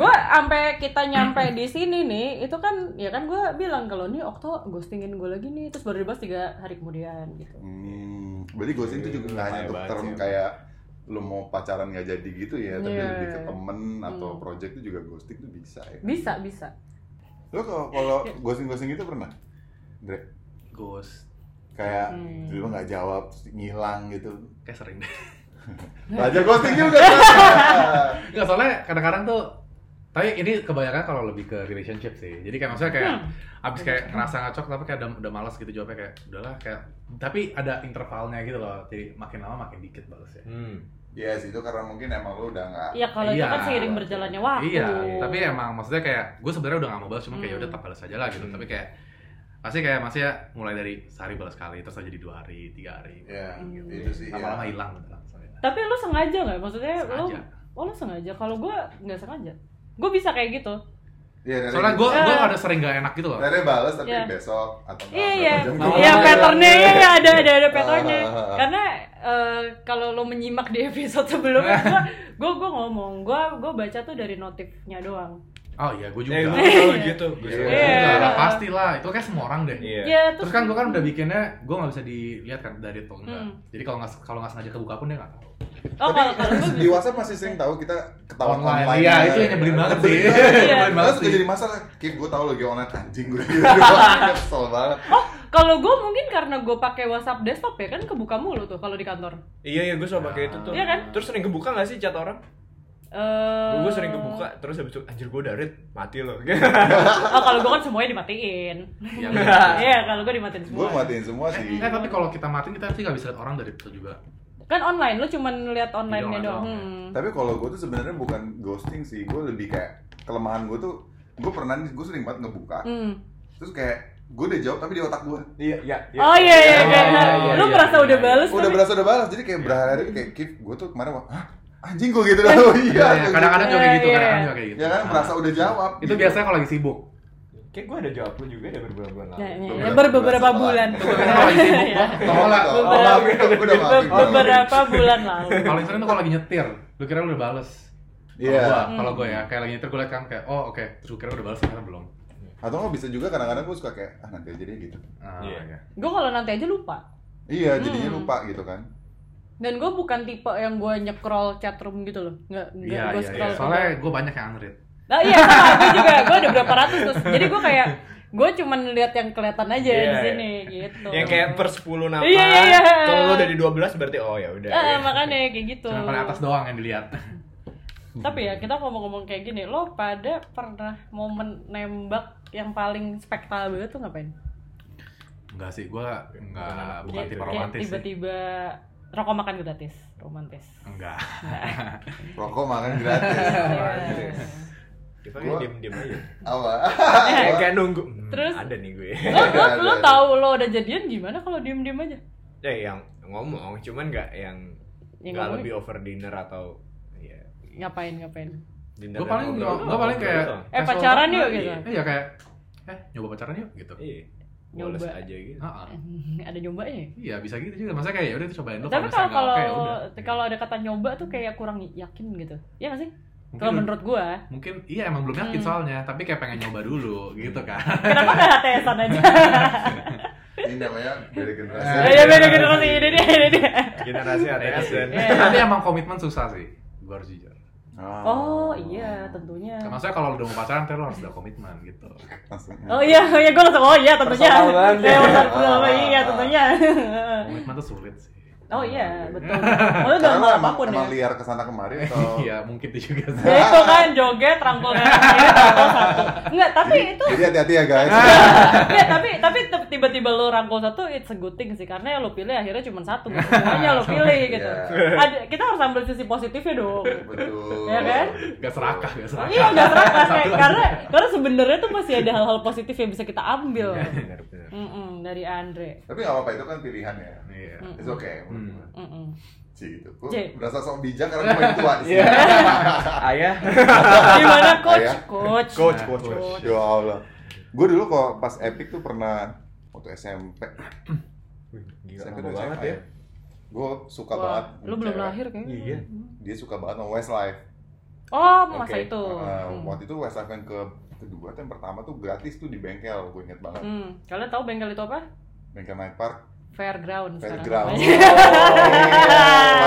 A: gue sampai kita nyampe di sini nih, itu kan ya kan gue bilang kalau nih Okto ghostingin gue lagi nih, terus baru dibahas tiga hari kemudian gitu.
C: hmm, berarti ghosting itu juga nggak hanya
E: Bahaya
C: untuk
E: banget
C: term
E: sih.
C: kayak lo mau pacaran nggak jadi gitu ya tapi
A: Iya.
C: lebih ke temen
A: Hmm.
C: atau project itu juga ghosting tuh bisa ya
A: Bisa, bisa.
C: lo kalau kalau ghosting-ghosting itu pernah Dre?
D: ghost
C: kayak
A: Hmm.
C: tiba-tiba nggak jawab terus ngilang gitu
D: kayak sering deh
C: raja ghosting juga
D: Nggak, soalnya kadang-kadang tuh tapi ini kebanyakan kalau lebih ke relationship sih jadi kayak maksudnya kayak
A: Hmm.
D: abis kayak ngerasa ngacok tapi kayak udah, udah malas gitu jawabnya kayak udahlah kayak tapi ada intervalnya gitu loh jadi makin lama makin dikit balasnya
E: Hmm.
C: Iya sih itu karena mungkin emang lu udah nggak
A: Ya kalau itu
D: Iya.
A: kan seiring berjalannya waktu.
D: iya tapi emang maksudnya kayak gue sebenarnya udah nggak mau balas cuma kayak
A: Oh.
D: ya
A: Hmm.
D: udah tetap balas aja lah gitu tapi kayak pasti kayak masih ya mulai dari sehari balas sekali terus aja di dua hari tiga hari
C: Iya,
A: Hmm.
C: itu sih
D: lama-lama
C: ya.
D: hilang gitu langsung ya.
A: Tapi lu sengaja nggak? Maksudnya lu,
D: Sengaja.
A: oh lu sengaja. Kalau gue nggak sengaja. Gue bisa kayak gitu.
C: Iya, Rere-
D: soalnya gue gue
A: Ya.
D: ada sering gak enak gitu loh
C: Rere balas tapi
A: Iya.
C: besok atau
D: Ah,
C: nggak
A: Iya
C: berapa
A: iya,
C: jam
D: Lama-lama
A: iya
D: hilang.
A: patternnya iya iya, ada ada ada patternnya.
C: Ah, ah, ah.
A: Karena eh, kalau lo menyimak di episode sebelumnya, gue gue ngomong, gue gue baca tuh dari notifnya doang.
D: oh iya gue juga
E: Eh, gue
D: Gua
E: selalu gitu. Gue
C: Iya.
E: selalu
D: juga.
A: Iya.
D: Lah, pasti lah itu kayak semua orang deh
E: Iya.
A: Ya
D: terus kan gue kan udah bikinnya gue nggak bisa dilihat kan dari itu enggak
A: Hmm.
D: jadi kalau nggak kalau nggak sengaja kebuka pun dia nggak tahu
A: Oh kalau kalau
C: Tapi
A: gue
C: di WhatsApp masih sering tahu kita ketahuan online.
D: iya itu yang nyebelin banget sih
A: Iya.
D: nyebelin
C: Malah
D: banget
C: suka
D: sih
C: jadi masalah, kayak gue tau lagi online anjing gue gitu doang, kesel banget
A: Oh, Kalau gue mungkin karena gue pakai WhatsApp desktop ya kan kebuka mulu tuh kalau di kantor.
E: Iya iya gue suka pakai itu tuh.
A: Iya kan?
E: Terus sering kebuka gak sih chat orang?
A: Eh,
E: Gue sering kebuka terus habis itu anjir gue udah read mati loh.
A: Oh, kalau gue kan semuanya dimatiin.
D: Iya,
E: bener.
A: Iya, kalau gue dimatiin semua.
C: Gue matiin semua sih.
D: Eh, tapi kalau kita matiin kita pasti nggak bisa lihat orang dari itu juga.
A: Kan online, lu cuman lihat online-nya
D: Iya,
A: doang.
D: online
A: Hmm.
C: Tapi kalau gue tuh sebenarnya bukan ghosting sih, gue lebih kayak kelemahan gue tuh gue pernah nih, gue sering banget ngebuka
A: Hmm.
C: terus kayak gue udah jawab tapi di otak gue
B: Iya, iya.
A: Oh iya iya
D: Oh,
A: kayak
D: iya,
A: lu
D: iya,
A: merasa
D: iya,
A: udah
D: iya.
A: bales
C: udah
A: tapi- Iya.
C: berasa udah balas jadi kayak berhari-hari kayak kip gue tuh kemarin wah "Hah? anjing gue
A: Eh,
C: gitu dah oh iya
D: Iya, kadang-kadang juga kayak gitu,
A: Iya, iya.
D: kadang-kadang juga kayak gitu.
C: ya kan merasa udah jawab gitu.
D: Itu biasanya kalau lagi sibuk.
E: Kayak gue ada jawab lu juga ada berbulan-bulan lalu.
A: Ya, ya, ya.
C: Beberapa
A: Ber- beberapa
C: bulan
A: bulan.
D: Kalau lagi sibuk,
A: Iya. Iya.
D: gua tolong lah.
C: Oh,
A: Beberapa-
C: maafin, gua udah maafin, gua udah maafin.
A: Beberapa bulan lalu.
D: Paling sering tuh kalau lagi nyetir, lu kira lu udah bales. Kalau
C: Iya.
D: gua,
A: Hmm.
D: kalau gua ya, kayak lagi nyetir gua liat kan kayak, oh oke, terus gua kira udah bales ternyata belum.
C: atau nggak bisa juga kadang-kadang gue suka kayak ah nanti aja deh gitu
D: Ah,
E: Iya.
D: iya.
A: Gue kalau nanti aja lupa.
C: iya jadinya
A: Hmm.
C: lupa gitu kan
A: Dan gue bukan tipe yang gue nyekrol chatroom gitu loh. Nggak, nggak
D: Iya,
A: gue
D: iya, iya.
A: scroll.
D: Soalnya gua banyak yang unread.
A: Nah, iya, gue juga. Gue ada berapa ratus terus. Jadi gue kayak gue cuman lihat yang kelihatan aja
E: Iya,
A: di
E: iya.
A: sini gitu.
E: Yang kayak per 10 nama.
A: Iya, iya, iya.
E: Kalau lu dari 12 berarti oh ya udah.
A: Ah, makanya kayak gitu.
D: Cuma paling atas doang yang dilihat.
A: Tapi ya kita ngomong-ngomong kayak gini, lo pada pernah momen nembak yang paling spektakuler banget tuh ngapain?
D: Enggak sih, gua enggak bukan
A: Kayak-
D: tipe
A: kayak
D: romantis sih.
A: Tiba-tiba rokok makan gratis, romantis.
D: Enggak.
C: rokok makan gratis
A: Iya.
E: Kita kayak
C: Gua-
E: diem-diem aja.
C: apa
E: Kayak kayak nunggu. Hmm,
A: Terus-
E: ada nih gue.
A: Lo, lo, lo
C: Ada, ada.
A: tahu lo udah jadian gimana kalau diem-diem aja?
E: Ya yang ngomong cuman nggak yang
A: Yang
E: nggak
A: ngomongin.
E: lebih over dinner atau ya
A: Ngapain ngapain?
E: dinner.
D: Gua
E: dan
D: paling
E: ngobrol
D: gua
E: doang,
D: paling
E: ngobrol
D: kayak
E: doang.
A: Eh,
D: casual
A: pacaran
D: banget.
A: yuk, gitu.
D: Iya kayak eh nyoba pacaran yuk gitu.
E: Iya.
A: Nyoba.
E: Boles aja gitu.
D: Heeh.
A: Ada nyobanya ya?
D: Iya bisa gitu juga. Masa kayak ya udah itu cobain dulu.
A: Tapi
D: misalnya
A: kalau kalau
D: nggak oke, ya udah.
A: kalau ada kata nyoba tuh kayak kurang yakin gitu. Iya gak sih?
D: Mungkin
A: Kalau
D: lu-
A: menurut gua,
D: mungkin iya emang belum yakin
A: Hmm.
D: soalnya, tapi kayak pengen nyoba dulu gitu kan.
A: kenapa gak HTSan aja?
C: ini namanya beda generasi
D: Eh,
A: Ya beda generasi ini dia, ini dia.
E: Generasi ATS dan
A: Iya. Hmm.
D: Tapi emang komitmen susah sih. Gua harus jujur.
C: Ah.
A: Oh iya, tentunya.
D: Maksudnya kalau lu udah mau pacaran, terus lu harus udah komitmen gitu.
C: Langsung. ya.
A: Oh iya, iya gue langsung oh iya tentunya.
B: Personal banget
A: Eh,
B: ya.
A: personal,
D: Oh.
A: personal, iya
C: Ah.
A: tentunya.
D: Komitmen tuh sulit sih.
A: Oh iya, betul. Lo
C: Karena
A: dalam
C: lo
A: hal
C: emang,
A: apapun ya.
C: emang liar kesana kemari
E: Oh.
C: atau
D: Iya mungkin itu juga sih.
A: Ya itu kan joget rangkul satu. Enggak, tapi itu
C: jadi hati-hati ya guys
A: Iya, tapi tapi te- tiba-tiba lo rangkul satu it's a good thing sih karena yang lo pilih akhirnya cuma satu, nggak semuanya lo pilih gitu.
C: Iya.
A: Ada- kita harus ambil sisi positifnya dong.
C: betul
A: Iya kan?
D: Gak serakah, gak serakah.
A: Iya, nggak serakah kayak-
D: Satu lagi.
A: karena karena sebenarnya tuh masih ada hal-hal positif yang bisa kita ambil.
E: benar benar.
A: Mm-mm, dari Andre.
C: tapi nggak apa-apa itu kan pilihan ya
D: Iya.
C: it's okay menurut
D: Hmm.
C: gue.
A: Mm-mm.
C: Ci gitu. Gua
A: Ci.
C: berasa sok bijak karena gue tua di sini.
E: Ayah.
A: Gimana coach?
C: Ayah.
A: Coach.
E: Coach,
D: Nah,
E: coach, coach.
C: Ya Allah. Gue dulu kok pas epic tuh pernah waktu SMP.
E: Wih, Gila
C: SMP
E: lama banget ya.
C: Gue suka
A: Wah,
C: banget.
A: Lu belum
C: cewek.
A: lahir kayaknya.
E: Iya.
C: Dia suka banget sama Westlife.
A: Oh, masa
E: Oke.
A: itu.
C: Uh,
A: Hmm.
C: waktu itu Westlife yang ke kedua tuh yang pertama tuh gratis tuh di bengkel. Gue inget banget.
A: Hmm. Kalian tahu bengkel itu apa?
C: Bengkel Night Park,
A: Fairground sekarang.
C: Fairground.
A: Iya.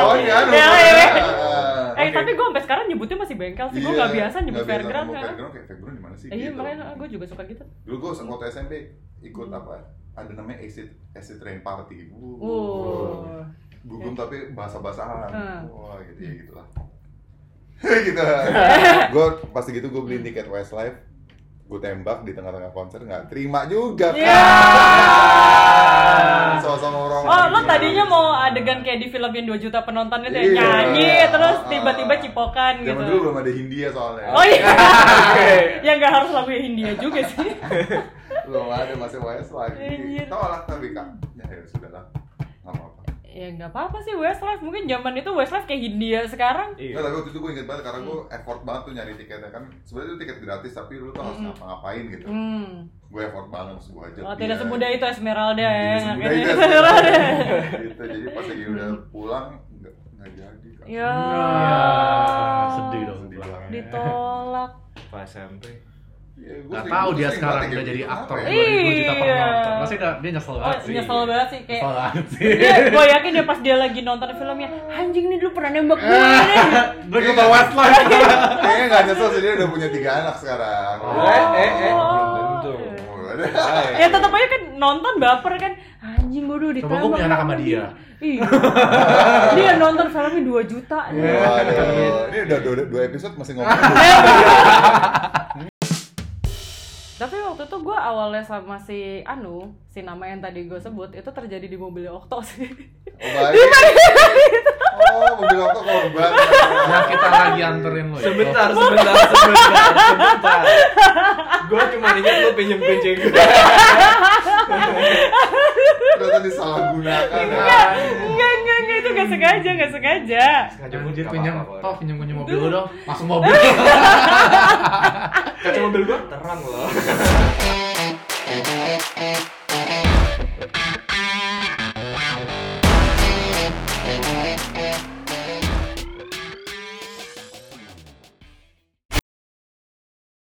C: Lawan kan?
A: Iya, iya, iya.
C: Ah.
A: Eh, tapi gue sampai sekarang nyebutnya masih bengkel sih. Gue
C: Iya,
A: gak biasa nyebut
C: nggak
A: fairground
C: ngomong
A: kan.
C: Fairground kayak fairground di mana sih?
A: Eh, Iya,
C: gitu.
A: makanya gue juga suka gitu.
C: Dulu gue waktu SMP ikut apa? ya? Ada namanya exit exit train party. Wuh. Oh.
A: Uh.
C: Gugum tapi bahasa-basahan.
A: Hmm.
C: Wah, gitu ya gitulah. gitu. gue pasti gitu gue beli tiket Westlife. Gue tembak di tengah-tengah konser nggak terima juga. kan.
A: Iya.
C: Sosok orang. gitu.
A: Oh, lo tadinya mau adegan kayak di film yang 2 juta penonton itu ya
C: Iya.
A: nyanyi, terus
C: Ah.
A: tiba-tiba cipokan gitu.
C: Zaman dulu belum ada Hindia soalnya.
A: Oh iya. ya nggak harus lagu India juga sih.
C: Belum ada masih Westlife.
A: Anjir.
C: Tahu lah tapi kan. Ya, ya sudahlah. Nggak apa-apa.
A: ya nggak apa-apa sih Westlife. Mungkin zaman itu Westlife kayak India sekarang.
E: Iya.
C: Nah, tapi waktu itu gue inget banget karena gue
A: Hmm.
C: effort banget tuh nyari tiketnya kan sebenarnya itu tiket gratis tapi lu tuh harus ngapa-ngapain gitu
A: Hmm.
C: gue effort banget terus gue ajak
A: Oh,
C: dia.
A: tidak semudah itu Esmeralda ya.
C: Iya. Tidak semudah
A: Nggak-
C: itu
A: nggak- Esmeralda.
C: gitu jadi pas lagi udah
A: Hmm.
C: pulang nggak nggak jadi kan
A: Ya.
D: Ah, sedih dong.
C: Sedih banget.
A: Ditolak.
E: Pas SMP.
C: Ya, gue
D: Gak
C: sering-
D: tahu
C: gue
D: dia
C: sering
D: sekarang
C: banget
D: udah
C: kayak
D: jadi
C: gitu.
D: aktor
C: Kenapa ya?
D: 20
A: Iya.
D: juta penonton. Pasti udah dia nyesel
A: Oh,
D: banget sih.
A: nyesel banget sih kayak Iya.
D: Nyesel banget sih.
A: dia, gue yakin dia pas dia lagi nonton filmnya anjing nih dulu pernah nembak gue
E: Eh,
A: nih."
D: Lu gue bawa Westlife.
A: Iya.
C: kayaknya nggak nyesel sih dia udah punya tiga anak sekarang
E: Eh, eh, eh.
A: Oh.
E: Belum tentu.
C: Mulai
A: ya tetap aja kan nonton baper kan anjing bodoh ditembak
D: Coba gue punya anak sama dia.
A: Ih. Iya. dia nonton filmnya 2 juta
E: Iya,
A: anjing. Iya.
C: Waduh, ini udah dua, dua episode masih
A: Eh,
C: ngomong.
A: tapi waktu itu gue awalnya sama si Anu si nama yang tadi gue sebut itu terjadi di mobilnya Okto sih
C: Oh, baik. Oh, mobil auto korban.
D: Nah kita lagi anterin lo. ya.
E: Sebentar, sebentar, sebentar, sebentar. Gue cuma ingat lo pinjem kunci gue.
C: Ternyata disalahgunakan.
D: Iya.
A: enggak enggak enggak itu gak sengaja gak sengaja
D: Aja gue dia pinjam, toh
E: Toh,
D: pinjam pinjam mobil lo dong, masuk mobil.
E: kaca mobil gue terang loh.